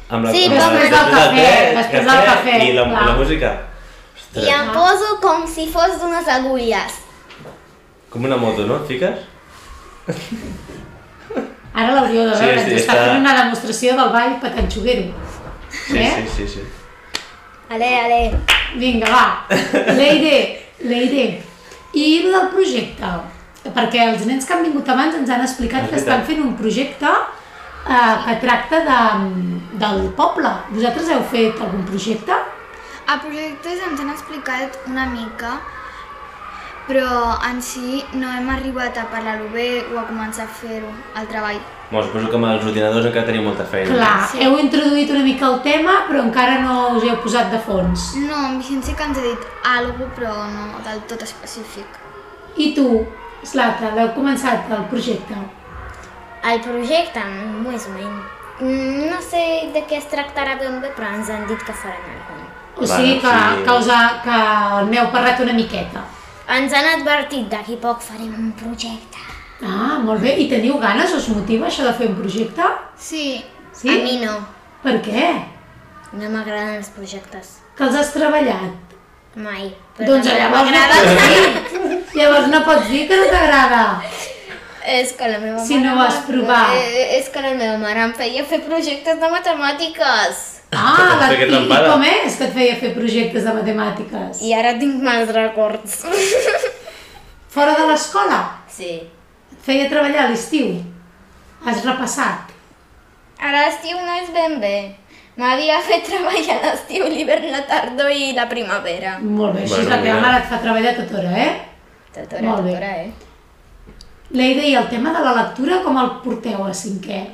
Speaker 1: Amb la,
Speaker 5: Sí,
Speaker 1: amb la-
Speaker 2: després del cafè, després del cafè,
Speaker 1: I la,
Speaker 2: clar.
Speaker 1: la música.
Speaker 5: I
Speaker 1: Ostres,
Speaker 2: Ah.
Speaker 5: em poso com si fos d'unes agulles.
Speaker 1: com una moto, no? Et fiques?
Speaker 2: Ara l'hauríeu de
Speaker 1: Sí,
Speaker 2: veure,
Speaker 1: sí,
Speaker 2: ens està
Speaker 1: està-
Speaker 2: fent una demostració del ball patanxuguero.
Speaker 1: Sí,
Speaker 2: Eh?
Speaker 1: sí, sí, sí.
Speaker 5: Ale, ale.
Speaker 2: Vinga, va, Leire, Leire, i el del projecte? Perquè els nens que han vingut abans ens han explicat
Speaker 1: És
Speaker 2: que estan
Speaker 1: veritat.
Speaker 2: fent un projecte eh, que tracta de, del poble. Vosaltres heu fet algun projecte?
Speaker 9: A projectes ens han explicat una mica, però en si no hem arribat a parlar-ho bé o a començar a fer-ho, el treball.
Speaker 1: Bueno, suposo que amb els ordinadors encara teniu molta feina.
Speaker 2: Clar,
Speaker 9: Sí.
Speaker 2: heu introduït una mica el tema, però encara no us hi heu posat de fons.
Speaker 9: No, en Vicent sí que ens ha dit alguna però no del tot específic.
Speaker 2: I tu, Slata, l'heu començat el projecte?
Speaker 5: El projecte, més o menys. Mm, No sé de què es tractarà ben bé, però ens han dit que faran algun.
Speaker 2: O
Speaker 1: Bueno,
Speaker 2: sigui que,
Speaker 1: sí.
Speaker 2: que, us ha, que n'heu parlat una miqueta.
Speaker 5: Ens han advertit d'aquí poc farem un projecte.
Speaker 2: Ah, molt bé. I teniu ganes? Us motiva això de fer un projecte?
Speaker 9: Sí,
Speaker 2: Sí?
Speaker 5: A mi no.
Speaker 2: Per què?
Speaker 5: No m'agraden els projectes.
Speaker 2: Que els has treballat?
Speaker 5: Mai.
Speaker 2: doncs
Speaker 5: també
Speaker 2: llavors no
Speaker 5: m'agrada-
Speaker 2: pots dir. Llavors no pots dir que no t'agrada.
Speaker 5: És que la meva
Speaker 2: Si no ho has
Speaker 5: em-
Speaker 2: provat.
Speaker 5: Eh, És que la meva mare em feia fer projectes de matemàtiques.
Speaker 2: Ah,
Speaker 1: Però
Speaker 2: la,
Speaker 1: per què
Speaker 2: i, i
Speaker 1: t'empara?
Speaker 2: com és que et feia fer projectes de matemàtiques?
Speaker 5: I ara tinc mals records.
Speaker 2: Fora de l'escola?
Speaker 5: Sí.
Speaker 2: Et feia treballar a l'estiu? Has repassat?
Speaker 5: A l'estiu no és ben bé. M'havia fet treballar a l'estiu, l'hivern, la tardor i la primavera.
Speaker 2: Molt bé, així
Speaker 1: Bueno,
Speaker 2: la teva
Speaker 1: mira.
Speaker 2: mare et fa treballar tot hora, eh?
Speaker 5: Tot hora,
Speaker 2: Molt
Speaker 5: tot
Speaker 2: bé.
Speaker 5: hora, eh?
Speaker 2: Leida, i el tema de la lectura com el porteu a cinquè?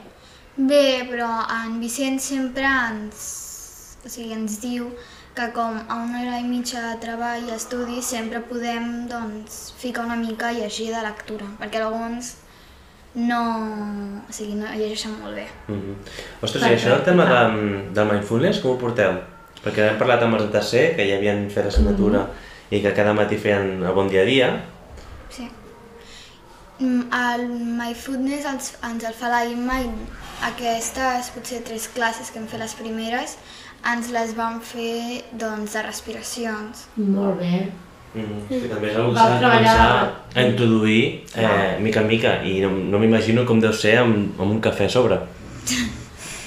Speaker 9: Bé, però en Vicent sempre ens, o sigui, ens diu que com a una hora i mitja de treball i estudi sempre podem doncs, ficar una mica i llegir de lectura, perquè alguns no, o sigui, no llegeixen molt bé.
Speaker 1: Mhm. Ostres, i això del tema de, del mindfulness, com ho porteu? Perquè hem parlat amb els de tercer, que ja havien fet
Speaker 2: Mhm.
Speaker 1: l'assignatura i que cada matí feien el bon dia a dia.
Speaker 9: Sí. Mm, El MyFoodness ens, ens el fa la Imma i aquestes potser tres classes que hem fet les primeres ens les van fer doncs, de respiracions.
Speaker 2: Molt bé.
Speaker 1: Mhm. Sí, també és una
Speaker 2: Vau
Speaker 1: cosa que s'ha de
Speaker 2: treballar-
Speaker 1: començar a introduir eh, mica en mica i no, no m'imagino com deu ser amb, amb un cafè a sobre.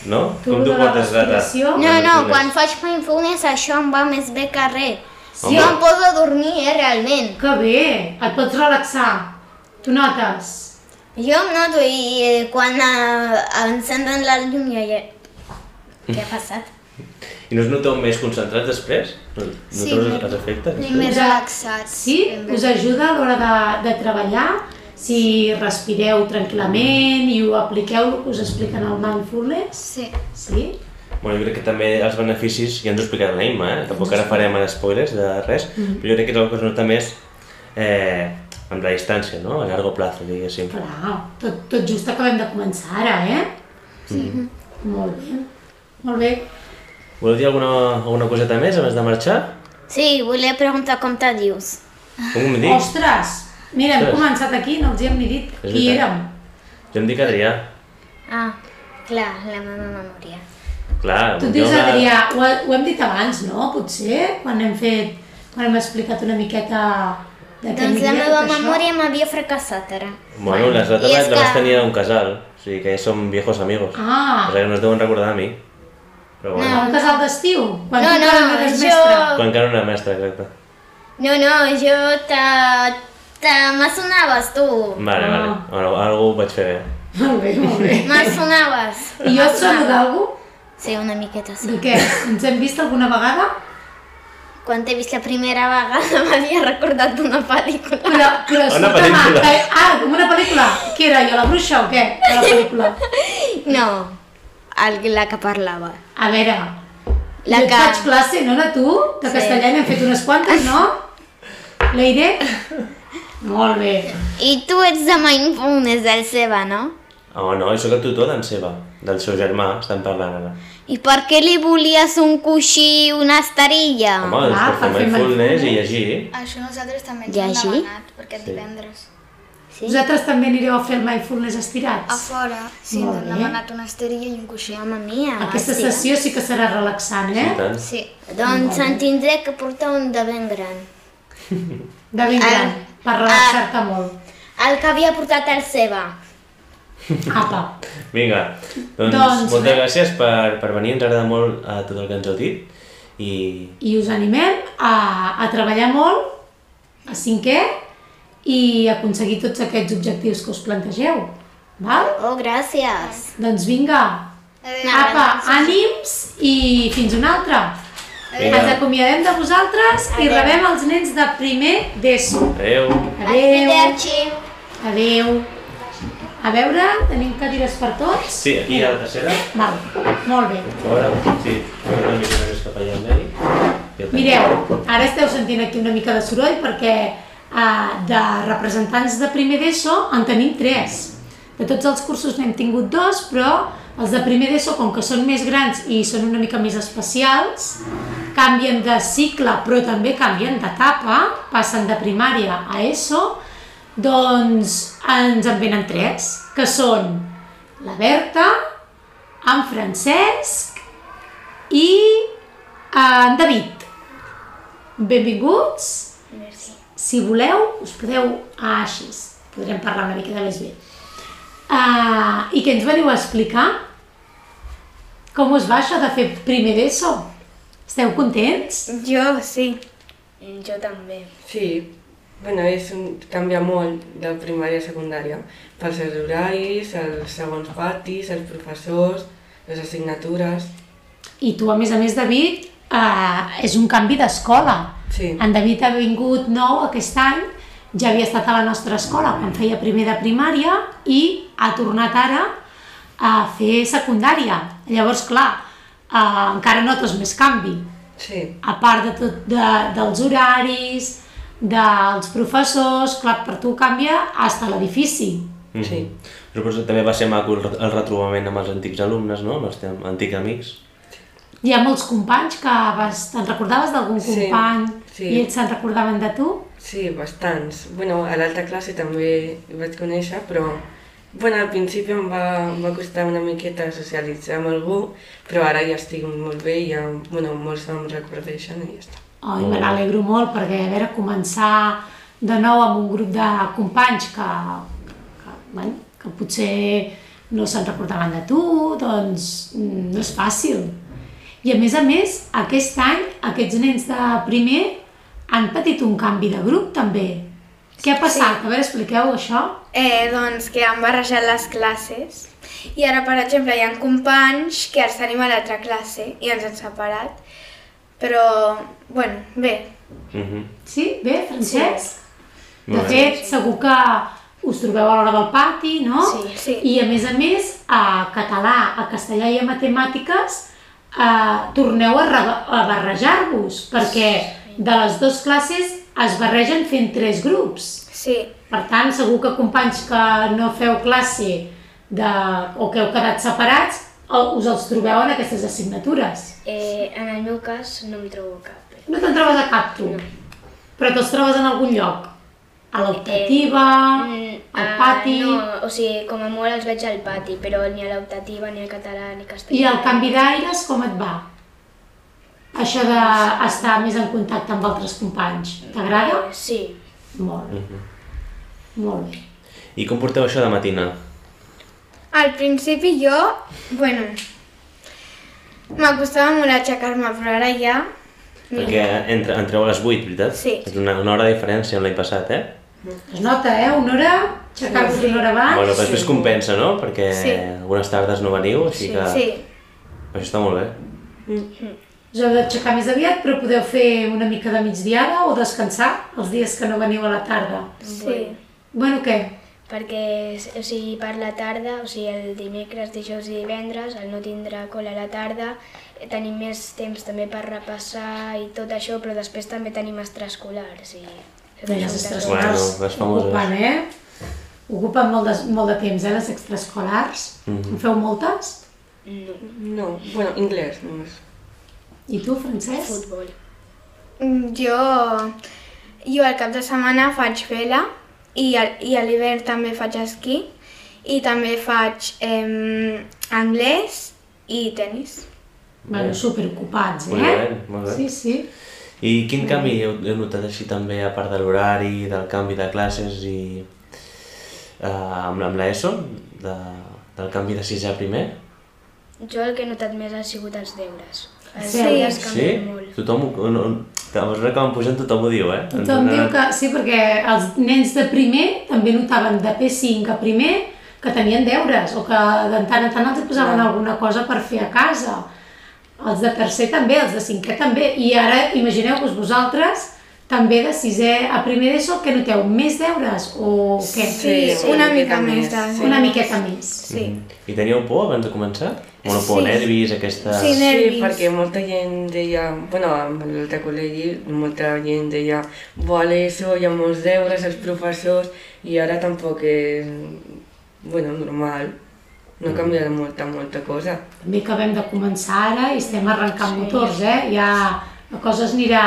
Speaker 1: No?
Speaker 2: Tu
Speaker 1: com
Speaker 2: de
Speaker 1: t'ho
Speaker 2: la
Speaker 1: portes, Data?
Speaker 2: respiració? No,
Speaker 5: No,
Speaker 1: El
Speaker 5: no,
Speaker 1: mindfulness.
Speaker 5: quan faig mindfulness això em va més bé que res.
Speaker 1: Home.
Speaker 5: Jo em poso a dormir, eh, realment.
Speaker 2: Que bé, et pots relaxar. Tu notes?
Speaker 5: Jo em noto i eh, quan eh, encenden la llum jo ja...
Speaker 1: Mm.
Speaker 5: Què ha passat?
Speaker 1: I no us noteu més concentrats després? No,
Speaker 9: Sí,
Speaker 1: noteu els,
Speaker 9: més-
Speaker 1: els efectes?
Speaker 9: I
Speaker 1: després?
Speaker 9: més relaxats.
Speaker 2: Sí,
Speaker 9: ben bé.
Speaker 2: us ajuda a l'hora de, de treballar, si respireu tranquil·lament i ho apliqueu, el que us expliquen al mindfulness,
Speaker 9: Sí.
Speaker 2: sí?
Speaker 1: Bueno, jo crec que també els beneficis, ja ens ho explicarà l'Aima, eh? tampoc ara farem spoilers de res, però jo crec que és una que es nota més eh, amb la distància, no? A llarg plazo, diguéssim.
Speaker 2: Clar, tot, tot just acabem de començar ara, eh? Sí. Molt bé, molt bé.
Speaker 1: Voleu dir alguna, alguna coseta més abans de marxar?
Speaker 5: Sí, volia preguntar com te dius.
Speaker 1: Com em dic?
Speaker 2: Ostres! Mira, hem
Speaker 1: Ostres.
Speaker 2: començat aquí, no els hi hem ni dit
Speaker 1: És
Speaker 2: qui
Speaker 1: veritat.
Speaker 2: érem.
Speaker 1: Jo em dic Adrià.
Speaker 5: Ah, clar, la meva memòria.
Speaker 1: Clar,
Speaker 2: Tu et
Speaker 1: jo
Speaker 2: dius,
Speaker 1: la-
Speaker 2: Adrià, ho, ho hem dit abans, no? Potser, quan hem fet, quan hem explicat una miqueta de què
Speaker 5: Doncs la
Speaker 2: aniria
Speaker 5: meva
Speaker 2: tot això.
Speaker 5: memòria m'havia fracassat ara.
Speaker 1: Bueno, les
Speaker 5: I
Speaker 1: notes
Speaker 5: és
Speaker 1: la vas
Speaker 5: que-
Speaker 1: tenir a un casal, o sigui que ja som viejos amigos. O
Speaker 2: Ah,
Speaker 1: sigui que no es deuen recordar a mi. Però bueno,
Speaker 2: el casal d'estiu, quan
Speaker 5: No,
Speaker 2: tu
Speaker 5: no,
Speaker 2: encara no eres
Speaker 5: jo-
Speaker 2: mestre.
Speaker 1: quan encara no era mestre, exacte.
Speaker 5: No, no, jo te... te m'assonaves, tu.
Speaker 1: Vale, vale.
Speaker 2: Ah.
Speaker 1: Bueno, algú ho vaig fer bé.
Speaker 2: Molt bé, molt bé.
Speaker 5: M'assonaves.
Speaker 2: I jo et sono d'algú?
Speaker 5: Sí, una miqueta, sí.
Speaker 2: De què? Ens hem vist alguna vegada?
Speaker 5: Quan t'he vist la primera vegada m'havia recordat d'una pel·lícula.
Speaker 2: Però, però
Speaker 1: Una
Speaker 2: escolta'm,
Speaker 1: pel·lícula.
Speaker 2: que, ah, com una pel·lícula. Què era, jo la bruixa o què? De La pel·lícula.
Speaker 5: No, el, la que parlava.
Speaker 2: A veure,
Speaker 5: La
Speaker 2: la jo et
Speaker 5: que-
Speaker 2: faig classe, no, de tu? De castellà n'hem fet unes quantes, no? Leire? Molt bé.
Speaker 5: I tu ets de Mindfulness del Seba, no?
Speaker 1: Home, Ah, no, jo sóc el tutor d'en Seba, del seu germà, estan parlant ara.
Speaker 5: I per què li volies un coixí, una esterilla?
Speaker 1: Home, doncs
Speaker 2: clar,
Speaker 1: per fer
Speaker 2: per fer
Speaker 1: mindfulness i
Speaker 2: mindfulness.
Speaker 1: llegir.
Speaker 8: Això nosaltres també ens
Speaker 5: I
Speaker 8: ho hem
Speaker 5: així?
Speaker 8: demanat, perquè sí. divendres.
Speaker 2: Sí? Vosaltres també anireu a fer el mindfulness
Speaker 8: A
Speaker 2: estirats?
Speaker 8: fora, sí, ens
Speaker 2: Molt
Speaker 8: han
Speaker 2: bé.
Speaker 8: demanat una esterilla i un coixí.
Speaker 5: Mama mia,
Speaker 2: Aquesta
Speaker 5: sí.
Speaker 2: sessió sí que serà relaxant,
Speaker 1: I
Speaker 2: eh?
Speaker 1: tant.
Speaker 8: Sí.
Speaker 5: Doncs en tindré que portar un de ben gran.
Speaker 2: De ben gran, per relaxar-te molt.
Speaker 5: El que havia portat el Seba.
Speaker 2: Apa.
Speaker 1: Vinga, doncs,
Speaker 2: Doncs
Speaker 1: moltes
Speaker 2: res.
Speaker 1: gràcies per, per venir, ens agrada molt a tot el que ens heu dit. I
Speaker 2: I us animem a, a treballar molt, a cinquè, i aconseguir tots aquests objectius que us plantegeu. Val?
Speaker 5: Oh, gràcies.
Speaker 2: Doncs vinga, apa, ànims i fins una altra.
Speaker 1: Vinga.
Speaker 2: Ens acomiadem de vosaltres i rebem els nens de primer d'ESO.
Speaker 1: adeu.
Speaker 2: Adeu.
Speaker 5: Arrivederci.
Speaker 2: Adeu. A veure, tenim cadires per tots?
Speaker 1: Sí, aquí a la tercera.
Speaker 2: Val, molt bé.
Speaker 1: A veure, sí, una mica més cap allà amb ell. Jo també.
Speaker 2: Mireu, ara esteu sentint aquí una mica de soroll perquè eh, de representants de primer d'ESO en tenim tres. De tots els cursos n'hem tingut dos, però els de primer d'ESO, com que són més grans i són una mica més especials, canvien de cicle, però també canvien d'etapa, passen de primària a ESO, doncs ens en venen tres, que són la Berta, en Francesc i eh, en David. Benvinguts. Si voleu, us podeu... Ah, així. és. Podrem parlar una miqueta més bé. Uh, I què ens veniu a explicar? Com us va això de fer primer d'ESO? Esteu contents?
Speaker 8: Jo sí.
Speaker 5: Jo també.
Speaker 10: Sí, bueno, és un, canvia molt de primària a secundària, pels seus horaris, els segons patis, els professors, les assignatures...
Speaker 2: I tu, a més a més, David, uh, és un canvi d'escola.
Speaker 10: Sí,
Speaker 2: En David ha vingut nou aquest any, ja havia estat a la nostra escola quan feia primer de primària i ha tornat ara a fer secundària. Llavors, clar, uh, encara notes més canvi.
Speaker 10: sí,
Speaker 2: a part de tot de, dels horaris, dels professors, clar, per tu canvia hasta l'edifici.
Speaker 10: sí.
Speaker 1: Jo Mhm. Suposo que també va ser maco el re- el retrobament amb els antics alumnes, no? Amb els teus antics amics.
Speaker 2: Hi ha molts companys que vas, te'n recordaves d'algun
Speaker 10: Sí,
Speaker 2: company
Speaker 10: sí.
Speaker 2: i ells se'n recordaven de tu?
Speaker 10: Sí, bastants. Bueno, a l'altra classe també hi vaig conèixer, però... Bueno, al principi em va, em va costar una miqueta socialitzar amb algú, però ara ja estic molt bé i ja, bueno, molts em reconeixen i ja està.
Speaker 2: Ai, me n'alegro molt perquè, a veure, començar de nou amb un grup de companys que, que, bueno, que potser no se'n recordaven de tu, doncs mm, no és fàcil. I a més a més, aquest any, aquests nens de primer han patit un canvi de grup també. Què ha passat? A veure, expliqueu això.
Speaker 8: Eh, doncs que han barrejat les classes i ara, per exemple, hi ha companys que els tenim a l'altra classe i ens han separat. Però, bueno, bé,
Speaker 1: Mhm.
Speaker 2: Sí? Bé, Francesc? De
Speaker 1: Molt bé.
Speaker 2: fet, segur que us trobeu a l'hora del pati, no?
Speaker 8: Sí, sí.
Speaker 2: I a més a més, a català, a castellà i a matemàtiques eh, torneu a, re- a barrejar-vos, perquè de les dues classes es barregen fent tres grups.
Speaker 3: Sí.
Speaker 2: Per tant, segur que companys que no feu classe de, o que heu quedat separats, el- us els trobeu en aquestes assignatures.
Speaker 4: Eh, en el meu cas no em trobo cap.
Speaker 2: No te'n trobes a cap, tu. Però te'ls trobes en algun lloc. A l'optativa, al
Speaker 11: Ah,
Speaker 2: pati...
Speaker 4: Eh, mm, ah, no, o sigui, com a molt els veig al pati, però ni a l'optativa, ni al català, ni castellà.
Speaker 2: I el canvi d'aires com et va? Això d'estar més en contacte amb altres companys. T'agrada?
Speaker 4: Eh, Sí.
Speaker 2: Molt bé. Molt bé.
Speaker 1: Mhm. I com porteu això de matina?
Speaker 8: Al principi jo, bueno, m'acostava molt aixecar-me, però ara ja...
Speaker 1: Perquè entre, entreu a les 8, veritat?
Speaker 8: Mm. Sí.
Speaker 1: És una, una hora de diferència amb l'any passat, eh?
Speaker 2: Es nota, eh? Una hora, aixecar-vos una hora abans.
Speaker 1: bueno, però després compensa, no? Perquè
Speaker 8: Sí.
Speaker 1: algunes tardes no veniu, així que...
Speaker 8: Sí,
Speaker 1: Això està molt bé.
Speaker 2: Us heu d'aixecar més aviat, però podeu fer una mica de migdiada o descansar els dies que no veniu a la tarda.
Speaker 8: sí.
Speaker 2: Bueno, què?
Speaker 4: Perquè, o sigui, per la tarda, o sigui, el dimecres, dijous i divendres, el no tindrà cola a la tarda, eh, tenim més temps també per repassar i tot això, però després també tenim extraescolars i...
Speaker 2: Bé, les extraescolars
Speaker 1: Bueno, les famoses.
Speaker 2: ocupen, eh? Ocupen molt de, molt de temps, eh, les extraescolars.
Speaker 1: Mm-hmm.
Speaker 2: En feu moltes?
Speaker 10: No, bueno, inglés només.
Speaker 2: I tu, Francesc?
Speaker 4: Futbol.
Speaker 8: Mm, Jo, jo al cap de setmana faig vela i, al- i a l'hivern també faig esquí i també faig eh, anglès i tennis.
Speaker 2: Bueno, superocupats, eh?
Speaker 1: Molt bé, molt bé.
Speaker 2: Sí, sí.
Speaker 1: I quin canvi heu, heu notat així també, a part de l'horari, del canvi de classes i... Eh, amb, amb l'ESO, de, del canvi de sisè a primer?
Speaker 4: Jo el que he notat més han sigut els deures. Els
Speaker 2: Sí.
Speaker 4: deures
Speaker 1: Sí?
Speaker 4: canvien molt.
Speaker 1: Tothom, ho- no, no, a mesura que van pujant tothom ho diu, eh? Ens
Speaker 2: Tothom
Speaker 1: han
Speaker 2: diu
Speaker 1: anat-
Speaker 2: que sí, perquè els nens de primer també notaven de P5 a primer que tenien deures o que de tant en tant els posaven alguna cosa per fer a casa. Els de tercer també, els de cinquè també. I ara imagineu-vos vosaltres també de sisè a primer d'ESO que noteu més deures o què?
Speaker 8: Sí, una mica més de...
Speaker 10: sí.
Speaker 2: Una miqueta més.
Speaker 8: Sí.
Speaker 1: Mm. I teníeu por abans de començar? Bueno, por, nervis, aquesta...
Speaker 8: Sí,
Speaker 10: Sí,
Speaker 8: nervis.
Speaker 10: perquè molta gent deia, bueno, amb l'altre col·legi, molta gent deia, bo, a l'ESO hi ha molts deures, els professors, i ara tampoc és, bueno, normal. No ha canviat molta, molta cosa.
Speaker 2: Mm. També que acabem de començar ara i estem arrencant motors, eh? Ja la cosa es anirà,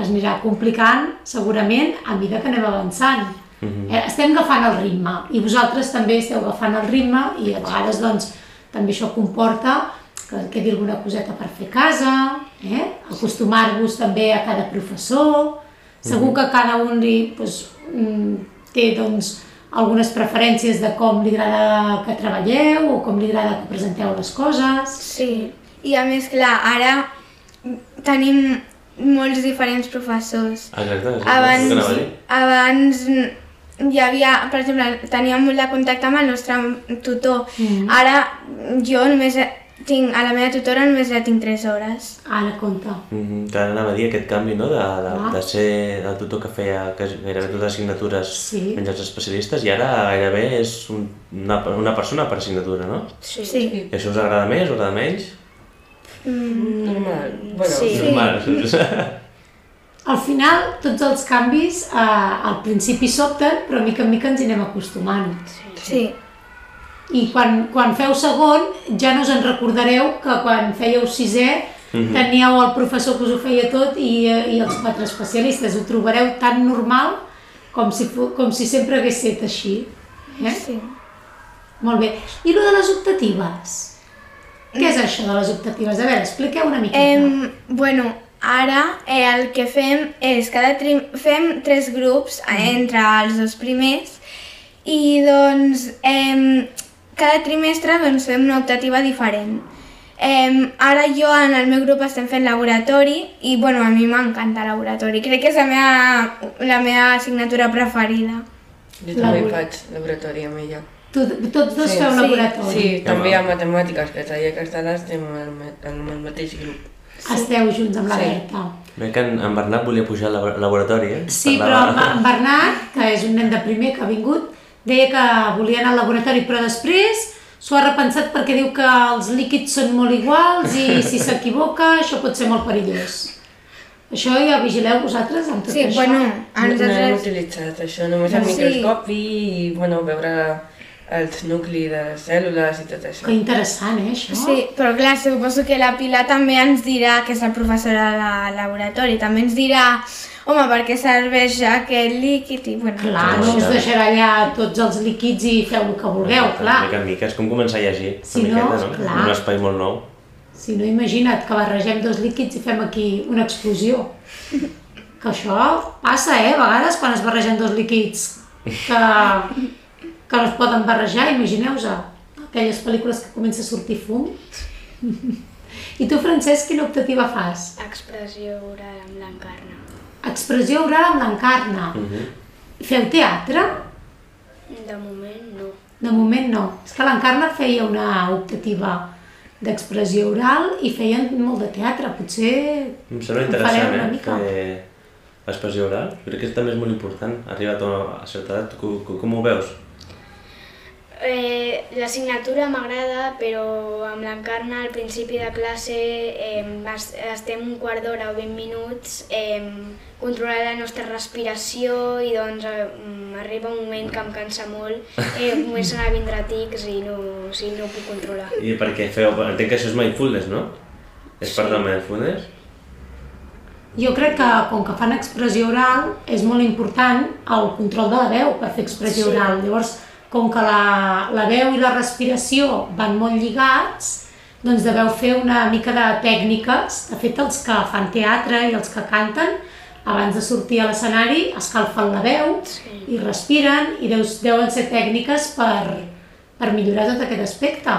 Speaker 2: es anirà complicant, segurament, a mida que anem avançant. eh, estem agafant el ritme i vosaltres també esteu agafant el ritme i a vegades, doncs, també això comporta que quedi alguna coseta per fer a casa, eh? acostumar-vos també a cada professor. Segur que cada un li, doncs, mm, té doncs, algunes preferències de com li agrada que treballeu o com li agrada que presenteu les coses.
Speaker 8: Sí, i a més, clar, ara tenim molts diferents professors.
Speaker 1: Exacte, és el que
Speaker 8: Abans,
Speaker 1: anava a dir.
Speaker 8: abans hi havia, per exemple, teníem molt de contacte amb el nostre tutor. Ara jo només tinc, a la meva tutora només la tinc 3 hores.
Speaker 2: Ara, compte.
Speaker 1: Mhm, Que ara anava a dir aquest canvi, no?, de, de,
Speaker 2: Ah.
Speaker 1: de ser el tutor que feia que gairebé totes les assignatures
Speaker 2: Sí.
Speaker 1: menys els especialistes i ara gairebé és un, una, una persona per assignatura, no?
Speaker 8: Sí. sí.
Speaker 1: I això us agrada més, us agrada menys?
Speaker 8: Mm.
Speaker 10: Normal. Bueno, sí.
Speaker 1: Normal. Sí.
Speaker 2: Al final, tots els canvis eh, al principi sobten, però mica en mica ens hi anem acostumant.
Speaker 8: sí.
Speaker 2: I quan, quan feu segon, ja no us en recordareu que quan fèieu sisè teníeu el professor que us ho feia tot i, eh, i els quatre especialistes. Ho trobareu tan normal com si, fo- com si sempre hagués estat així. Eh?
Speaker 8: Sí.
Speaker 2: Molt bé. I lo de les optatives? Què és això de les optatives? A veure, expliqueu una miqueta.
Speaker 8: Em, bueno, ara eh, el que fem és cada tri... fem tres grups eh, entre els dos primers i doncs em, cada trimestre doncs, fem una optativa diferent. Em, ara jo en el meu grup estem fent laboratori i bueno, a mi m'encanta laboratori, crec que és la meva, la meva assignatura preferida.
Speaker 10: jo també faig laboratori amb ella.
Speaker 2: Tu, tots dos feu laboratori.
Speaker 10: Sí, també a matemàtiques, que i castellà estem en el mateix grup.
Speaker 2: Esteu junts amb la Berta.
Speaker 1: Bé que en, en Bernat volia pujar al labo- laboratori, eh?
Speaker 2: Sí, però
Speaker 1: Parlava-
Speaker 2: en en Bernat, que és un nen de primer que ha vingut, deia que volia anar al laboratori, però després s'ho ha repensat perquè diu que els líquids són molt iguals i si s'equivoca això pot ser molt perillós. Això ja vigileu vosaltres amb tot
Speaker 8: Sí,
Speaker 2: això.
Speaker 8: bueno, a
Speaker 10: No, Doncs no hem
Speaker 8: nosaltres...
Speaker 10: utilitzat això, només el
Speaker 8: Sí.
Speaker 10: microscopi i bueno, veure els nuclis de les cèl·lules i tot
Speaker 2: Que
Speaker 10: això.
Speaker 2: interessant, eh, això?
Speaker 8: Sí, però clar, suposo que la Pilar també ens dirà, que és la professora de laboratori, també ens dirà, home, per què serveix aquest líquid i bueno...
Speaker 2: Clar, no us deixarà allà tots els líquids i feu el que vulgueu, clar.
Speaker 1: De mica en mica, és com començar a llegir, una
Speaker 2: Si no,
Speaker 1: miqueta, no?
Speaker 2: clar.
Speaker 1: En un espai molt nou.
Speaker 2: Si no, imagina't que barregem dos líquids i fem aquí una explosió. Que això passa, eh? A vegades quan es barregen dos líquids que, que no es poden barrejar, imagineu-se. Aquelles pel·lícules que comença a sortir fum. I tu, Francesc, quina optativa fas?
Speaker 11: Expressió oral amb l'encarna.
Speaker 2: Expressió oral amb l'encarna. Uh
Speaker 1: Mhm.
Speaker 2: -huh. Feu teatre?
Speaker 11: De moment, no.
Speaker 2: De moment no. És que l'Encarna feia una optativa d'expressió oral i feien molt de teatre, potser...
Speaker 1: Em sembla
Speaker 2: en
Speaker 1: interessant,
Speaker 2: fareu una
Speaker 1: eh?
Speaker 2: mica.
Speaker 1: Fer l'expressió oral. Crec que també és molt important, arribat a a certa edat. Com, com, com ho veus?
Speaker 11: Eh, L'assignatura m'agrada, però amb l'encarna al principi de classe eh, es- estem un quart d'hora o 20 minuts eh, controlant la nostra respiració i doncs eh, mm, arriba un moment que em cansa molt, eh, comencen a vindre tics i no, o sigui, no ho puc controlar.
Speaker 1: I perquè feu... Entenc que això és mindfulness, no? És part del mindfulness?
Speaker 2: Jo crec que, com que fan expressió oral, és molt important el control de la veu per fer expressió sí. oral. Llavors, com que la, la veu i la respiració van molt lligats, doncs deveu fer una mica de tècniques. De fet, els que fan teatre i els que canten, abans de sortir a l'escenari, escalfen la veu sí. i respiren, i deus, deuen ser tècniques per, per millorar tot aquest aspecte.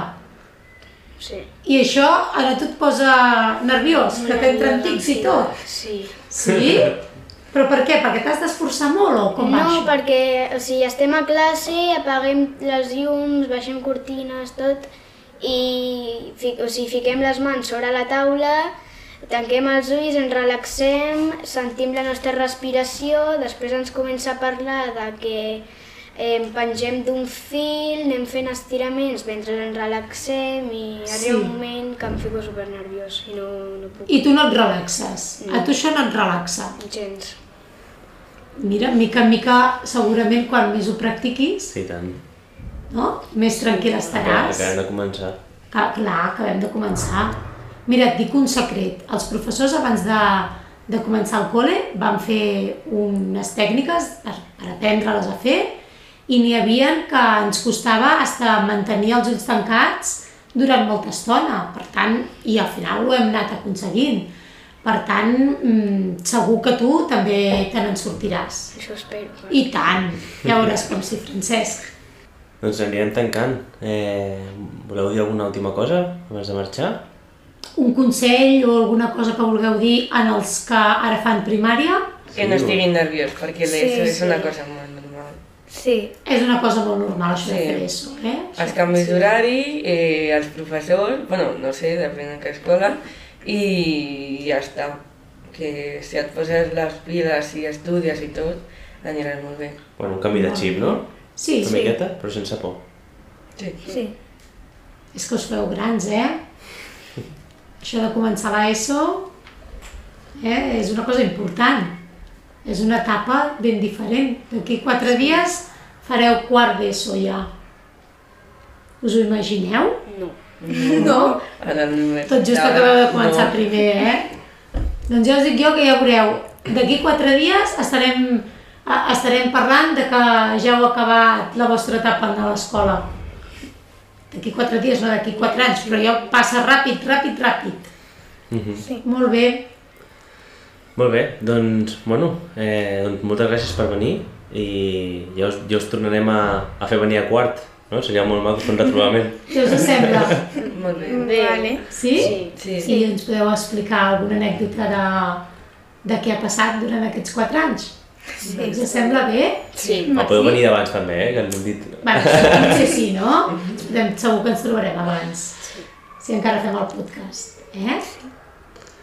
Speaker 11: Sí.
Speaker 2: I això ara tu et posa nerviós, que t'entren tics i tot.
Speaker 11: Sí.
Speaker 2: Sí? Però per què? Perquè t'has d'esforçar molt o com va
Speaker 11: no,
Speaker 2: això?
Speaker 11: perquè o sigui, estem a classe, apaguem les llums, baixem cortines, tot, i fi, o sigui, fiquem les mans sobre la taula, tanquem els ulls, ens relaxem, sentim la nostra respiració, després ens comença a parlar de que eh, pengem d'un fil, anem fent estiraments mentre ens relaxem i arriba
Speaker 2: Sí.
Speaker 11: un moment que em fico supernerviós i no, no puc
Speaker 2: I tu no et relaxes. A tu això no et relaxa.
Speaker 11: Mm. gens.
Speaker 2: Mira, mica en mica, segurament quan més ho practiquis,
Speaker 1: Sí, i tant.
Speaker 2: no? més tranquil
Speaker 1: Acabem
Speaker 2: estaràs.
Speaker 1: acabem de començar.
Speaker 2: Que, clar, acabem de començar. Mira, et dic un secret. Els professors abans de, de començar el col·le van fer unes tècniques per, per aprendre-les a fer i n'hi havia que ens costava hasta mantenir els ulls tancats durant molta estona. Per tant, i al final ho hem anat aconseguint. Per tant, mm, segur que tu també te n'en sortiràs.
Speaker 11: Això espero. eh?
Speaker 2: I tant! Ja veuràs com si, Francesc.
Speaker 1: Doncs anirem tancant. Eh, voleu dir alguna última cosa abans de marxar?
Speaker 2: un consell o alguna cosa que vulgueu dir en els que ara fan primària
Speaker 10: Que no estiguin nerviós, perquè l'ESO és una cosa molt normal.
Speaker 8: Sí,
Speaker 2: és una cosa molt normal això de
Speaker 10: Sí.
Speaker 2: fer ESO, eh?
Speaker 10: Els canvis d'horari, eh, els professors, bueno, no sé, depèn de que escola, i ja està. Que si et poses les piles i estudies i tot, aniràs molt bé.
Speaker 1: Bueno, un canvi de xip, no?
Speaker 2: Sí,
Speaker 1: Una
Speaker 2: sí.
Speaker 1: miqueta, però sense por.
Speaker 10: Sí.
Speaker 8: sí.
Speaker 2: És que us feu grans, eh? Això de començar l'ESO eh? és una cosa important. És una etapa ben diferent. D'aquí quatre dies fareu quart d'ESO ja. Us ho imagineu? No. No?
Speaker 10: En el moment.
Speaker 2: Tot just acabeu de començar primer, eh? Doncs ja us dic jo que ja veureu, d'aquí quatre dies estarem, a- estarem parlant de que ja heu acabat la vostra etapa a l'escola. D'aquí quatre dies, no d'aquí quatre anys, però ja passa ràpid, ràpid, ràpid.
Speaker 1: Mhm.
Speaker 2: Sí. Molt bé.
Speaker 1: Molt bé, doncs, bueno, eh, doncs moltes gràcies per venir i ja us, ja us tornarem a, a fer venir a quart, no? Seria molt maco fer un retrobament.
Speaker 2: Què us sembla?
Speaker 10: Molt bé.
Speaker 8: Vale.
Speaker 2: Sí?
Speaker 10: Sí.
Speaker 2: I ens podeu explicar alguna anècdota de, de què ha passat durant aquests quatre anys? Sí. Us sembla bé?
Speaker 1: O Ah, podeu venir d'abans també, eh? Que ens hem dit...
Speaker 2: Bé, potser sí, no? Ens podem- Segur que ens trobarem abans, si encara fem el podcast. Eh?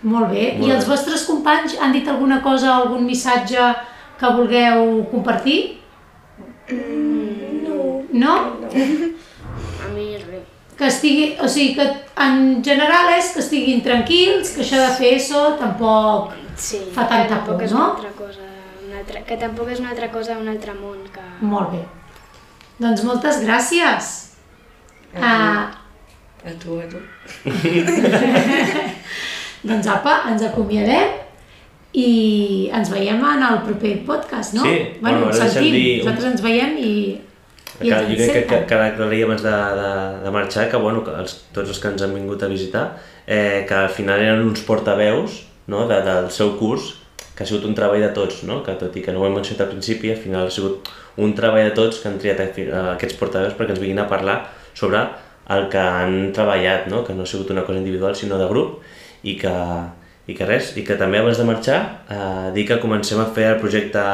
Speaker 2: Molt bé.
Speaker 1: Molt
Speaker 2: I
Speaker 1: bé.
Speaker 2: els vostres companys han dit alguna cosa, algun missatge que vulgueu compartir? No. No?
Speaker 11: Mm, A mi res.
Speaker 2: Que estigui, o sigui, que en general és que estiguin tranquils, que això de fer ESO tampoc
Speaker 11: Sí,
Speaker 2: fa tanta
Speaker 11: que tampoc
Speaker 2: por,
Speaker 11: és
Speaker 2: no?
Speaker 11: Una altra cosa, una altra, que tampoc és una altra cosa d'un altre món. Que...
Speaker 2: Molt bé. Doncs moltes gràcies. Ah,
Speaker 10: A tu, a tu.
Speaker 2: doncs apa, ens acomiadem i ens veiem en el proper podcast, no?
Speaker 1: Sí, bueno, ara
Speaker 2: bueno, ens
Speaker 1: deixem
Speaker 2: sentim.
Speaker 1: dir un-
Speaker 2: Nosaltres ens veiem i...
Speaker 1: Que, jo crec que, que, que ara aclarir abans de, de, de marxar que, bueno, que els, tots els que ens han vingut a visitar, eh, que al final eren uns portaveus no, de, del seu curs, que ha sigut un treball de tots, no? que tot i que no ho hem mencionat al principi, al final ha sigut un treball de tots que han triat a fi- a aquests portaveus perquè ens vinguin a parlar sobre el que han treballat, no? que no ha sigut una cosa individual sinó de grup i que, i que res, i que també abans de marxar eh, dir que comencem a fer el projecte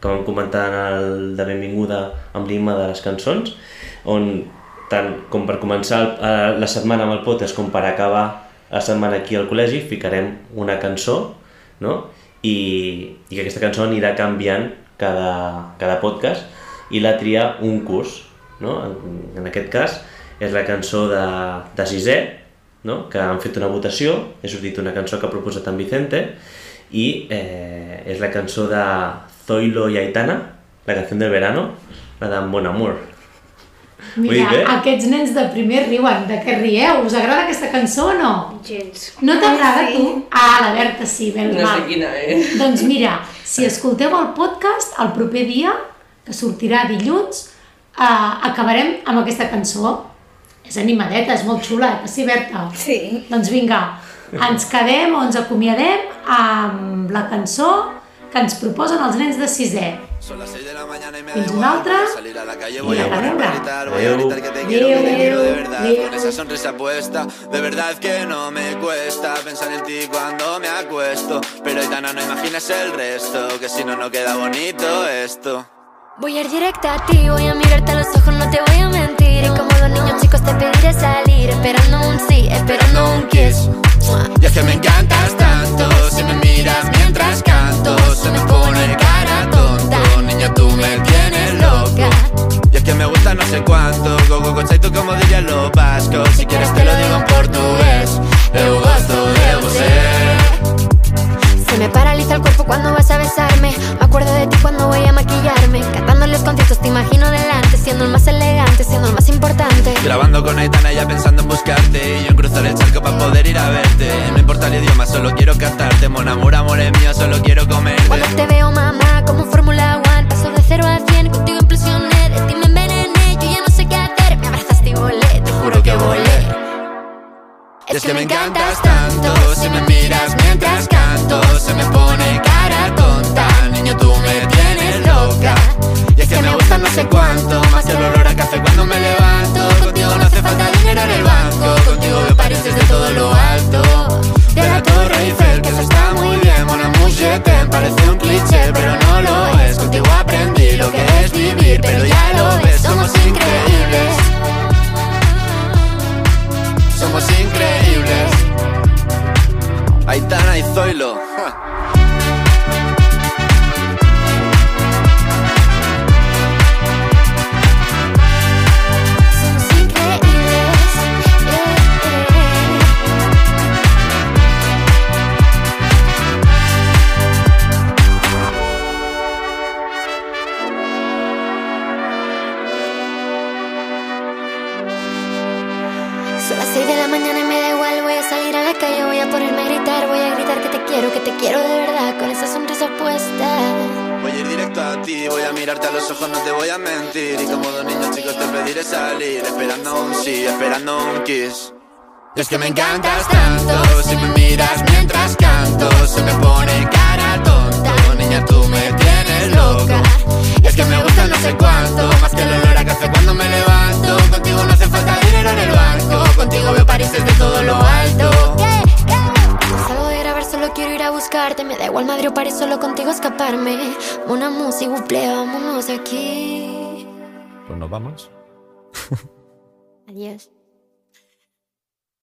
Speaker 1: que vam comentar en el de benvinguda amb l'himne de les cançons on tant com per començar el, eh, la setmana amb el potes com per acabar la setmana aquí al col·legi ficarem una cançó no? I, i que aquesta cançó anirà canviant cada, cada podcast i la tria un curs. No? En, en aquest cas és la cançó de, de sisè, no? que han fet una votació, he sortit una cançó que ha proposat en Vicente, i eh, és la cançó de Zoilo i Aitana, la canció de verano, la de Bon Amor. Ho he
Speaker 2: Mira,
Speaker 1: dit bé?
Speaker 2: aquests nens de primer riuen, de què rieu? Us agrada aquesta cançó o no?
Speaker 11: Gens.
Speaker 2: No t'agrada tu? Ah, la eh. Berta sí, ben
Speaker 10: No sé quina és.
Speaker 2: Doncs mira, si escolteu el podcast, el proper dia, que sortirà dilluns, eh, acabarem amb aquesta cançó. És animadeta, és molt xula, eh? que sí, Berta?
Speaker 12: Sí.
Speaker 2: Doncs vinga, ens quedem o ens acomiadem amb la cançó que ens proposen els nens de sisè.
Speaker 13: Son las 6 de la mañana y me da
Speaker 2: Fins
Speaker 13: igual
Speaker 2: una altra.
Speaker 13: salir a la calle.
Speaker 2: Y
Speaker 13: Voy a
Speaker 2: hasta
Speaker 13: ponerme a
Speaker 2: ahora.
Speaker 13: gritar, voy a gritar que te quiero, que te quiero de verdad. Con esa sonrisa puesta, de verdad que no me cuesta pensar en ti cuando me acuesto. Pero Aitana, no imaginas el resto, que si no, no queda bonito esto.
Speaker 14: Voy a ir directa a ti, voy a mirarte a los ojos, no te voy a mentir. Y como los niños chicos te pediré salir, esperando un sí, esperando un kiss.
Speaker 13: Y es que me encantas tanto, si me miras mientras canto, se me pone cara tonto. Niña, tú me tienes loco. Y es que me gusta no sé cuánto, go, go, go, chay, tú como dirían los vascos. Si quieres te lo digo en portugués, eu gosto de você.
Speaker 14: Se me paraliza el cuerpo cuando vas a besarme. Me acuerdo de ti cuando voy a maquillarme. Cantando en los conciertos te imagino delante, siendo el más elegante, siendo el más importante.
Speaker 13: Grabando con Aitana ya pensando en buscarte Y yo en cruzar el charco para poder ir a verte No importa el idioma, solo quiero cantarte Mon amor, amor es mío, solo quiero
Speaker 14: Cuando
Speaker 13: comerte
Speaker 14: te veo, mamá, como Fórmula One, paso de 0 a 100, contigo implosioné, de ti me envenené, yo ya no sé qué hacer. Me abrazaste y volé, te juro que volé.
Speaker 13: Y es que me encantas tanto Si me miras mientras canto Se me pone cara tonta Niño, tú me tienes loca Y es que me gusta no sé cuánto Más que el olor a café cuando me levanto Contigo no hace falta dinero en el banco Contigo me pareces de todo lo alto De la Torre Eiffel, que eso está muy bien Mon amour, je t'aime. parece un cliché Pero no lo es, contigo aprendí lo que es vivir Pero ya lo ves, somos increíbles Somos increíbles Aitana y Zoilo
Speaker 14: Son las 6 de la mañana y me da igual, voy a salir a la calle, voy a ponerme a gritar, voy a gritar que te quiero, que te quiero de verdad, con esa sonrisa puesta.
Speaker 13: Voy a ir directo a ti, voy a mirarte a los ojos, no te voy a mentir Y como dos niños chicos te pediré salir Esperando un sí, esperando un kiss Y es que me encantas tanto Si me miras mientras canto Se me pone cara tonta Niña, tú me tienes loca Y es que me gusta no sé cuánto Más que el olor a café cuando me levanto Contigo no hace falta dinero en el banco Contigo veo París desde todo lo alto
Speaker 14: Yeah, yeah. Salgo de grabar, solo quiero ir a buscarte, me da igual Madrid o París, solo contigo escaparme. Una música, buple, vámonos de aquí.
Speaker 15: Pues nos vamos.
Speaker 14: Adiós.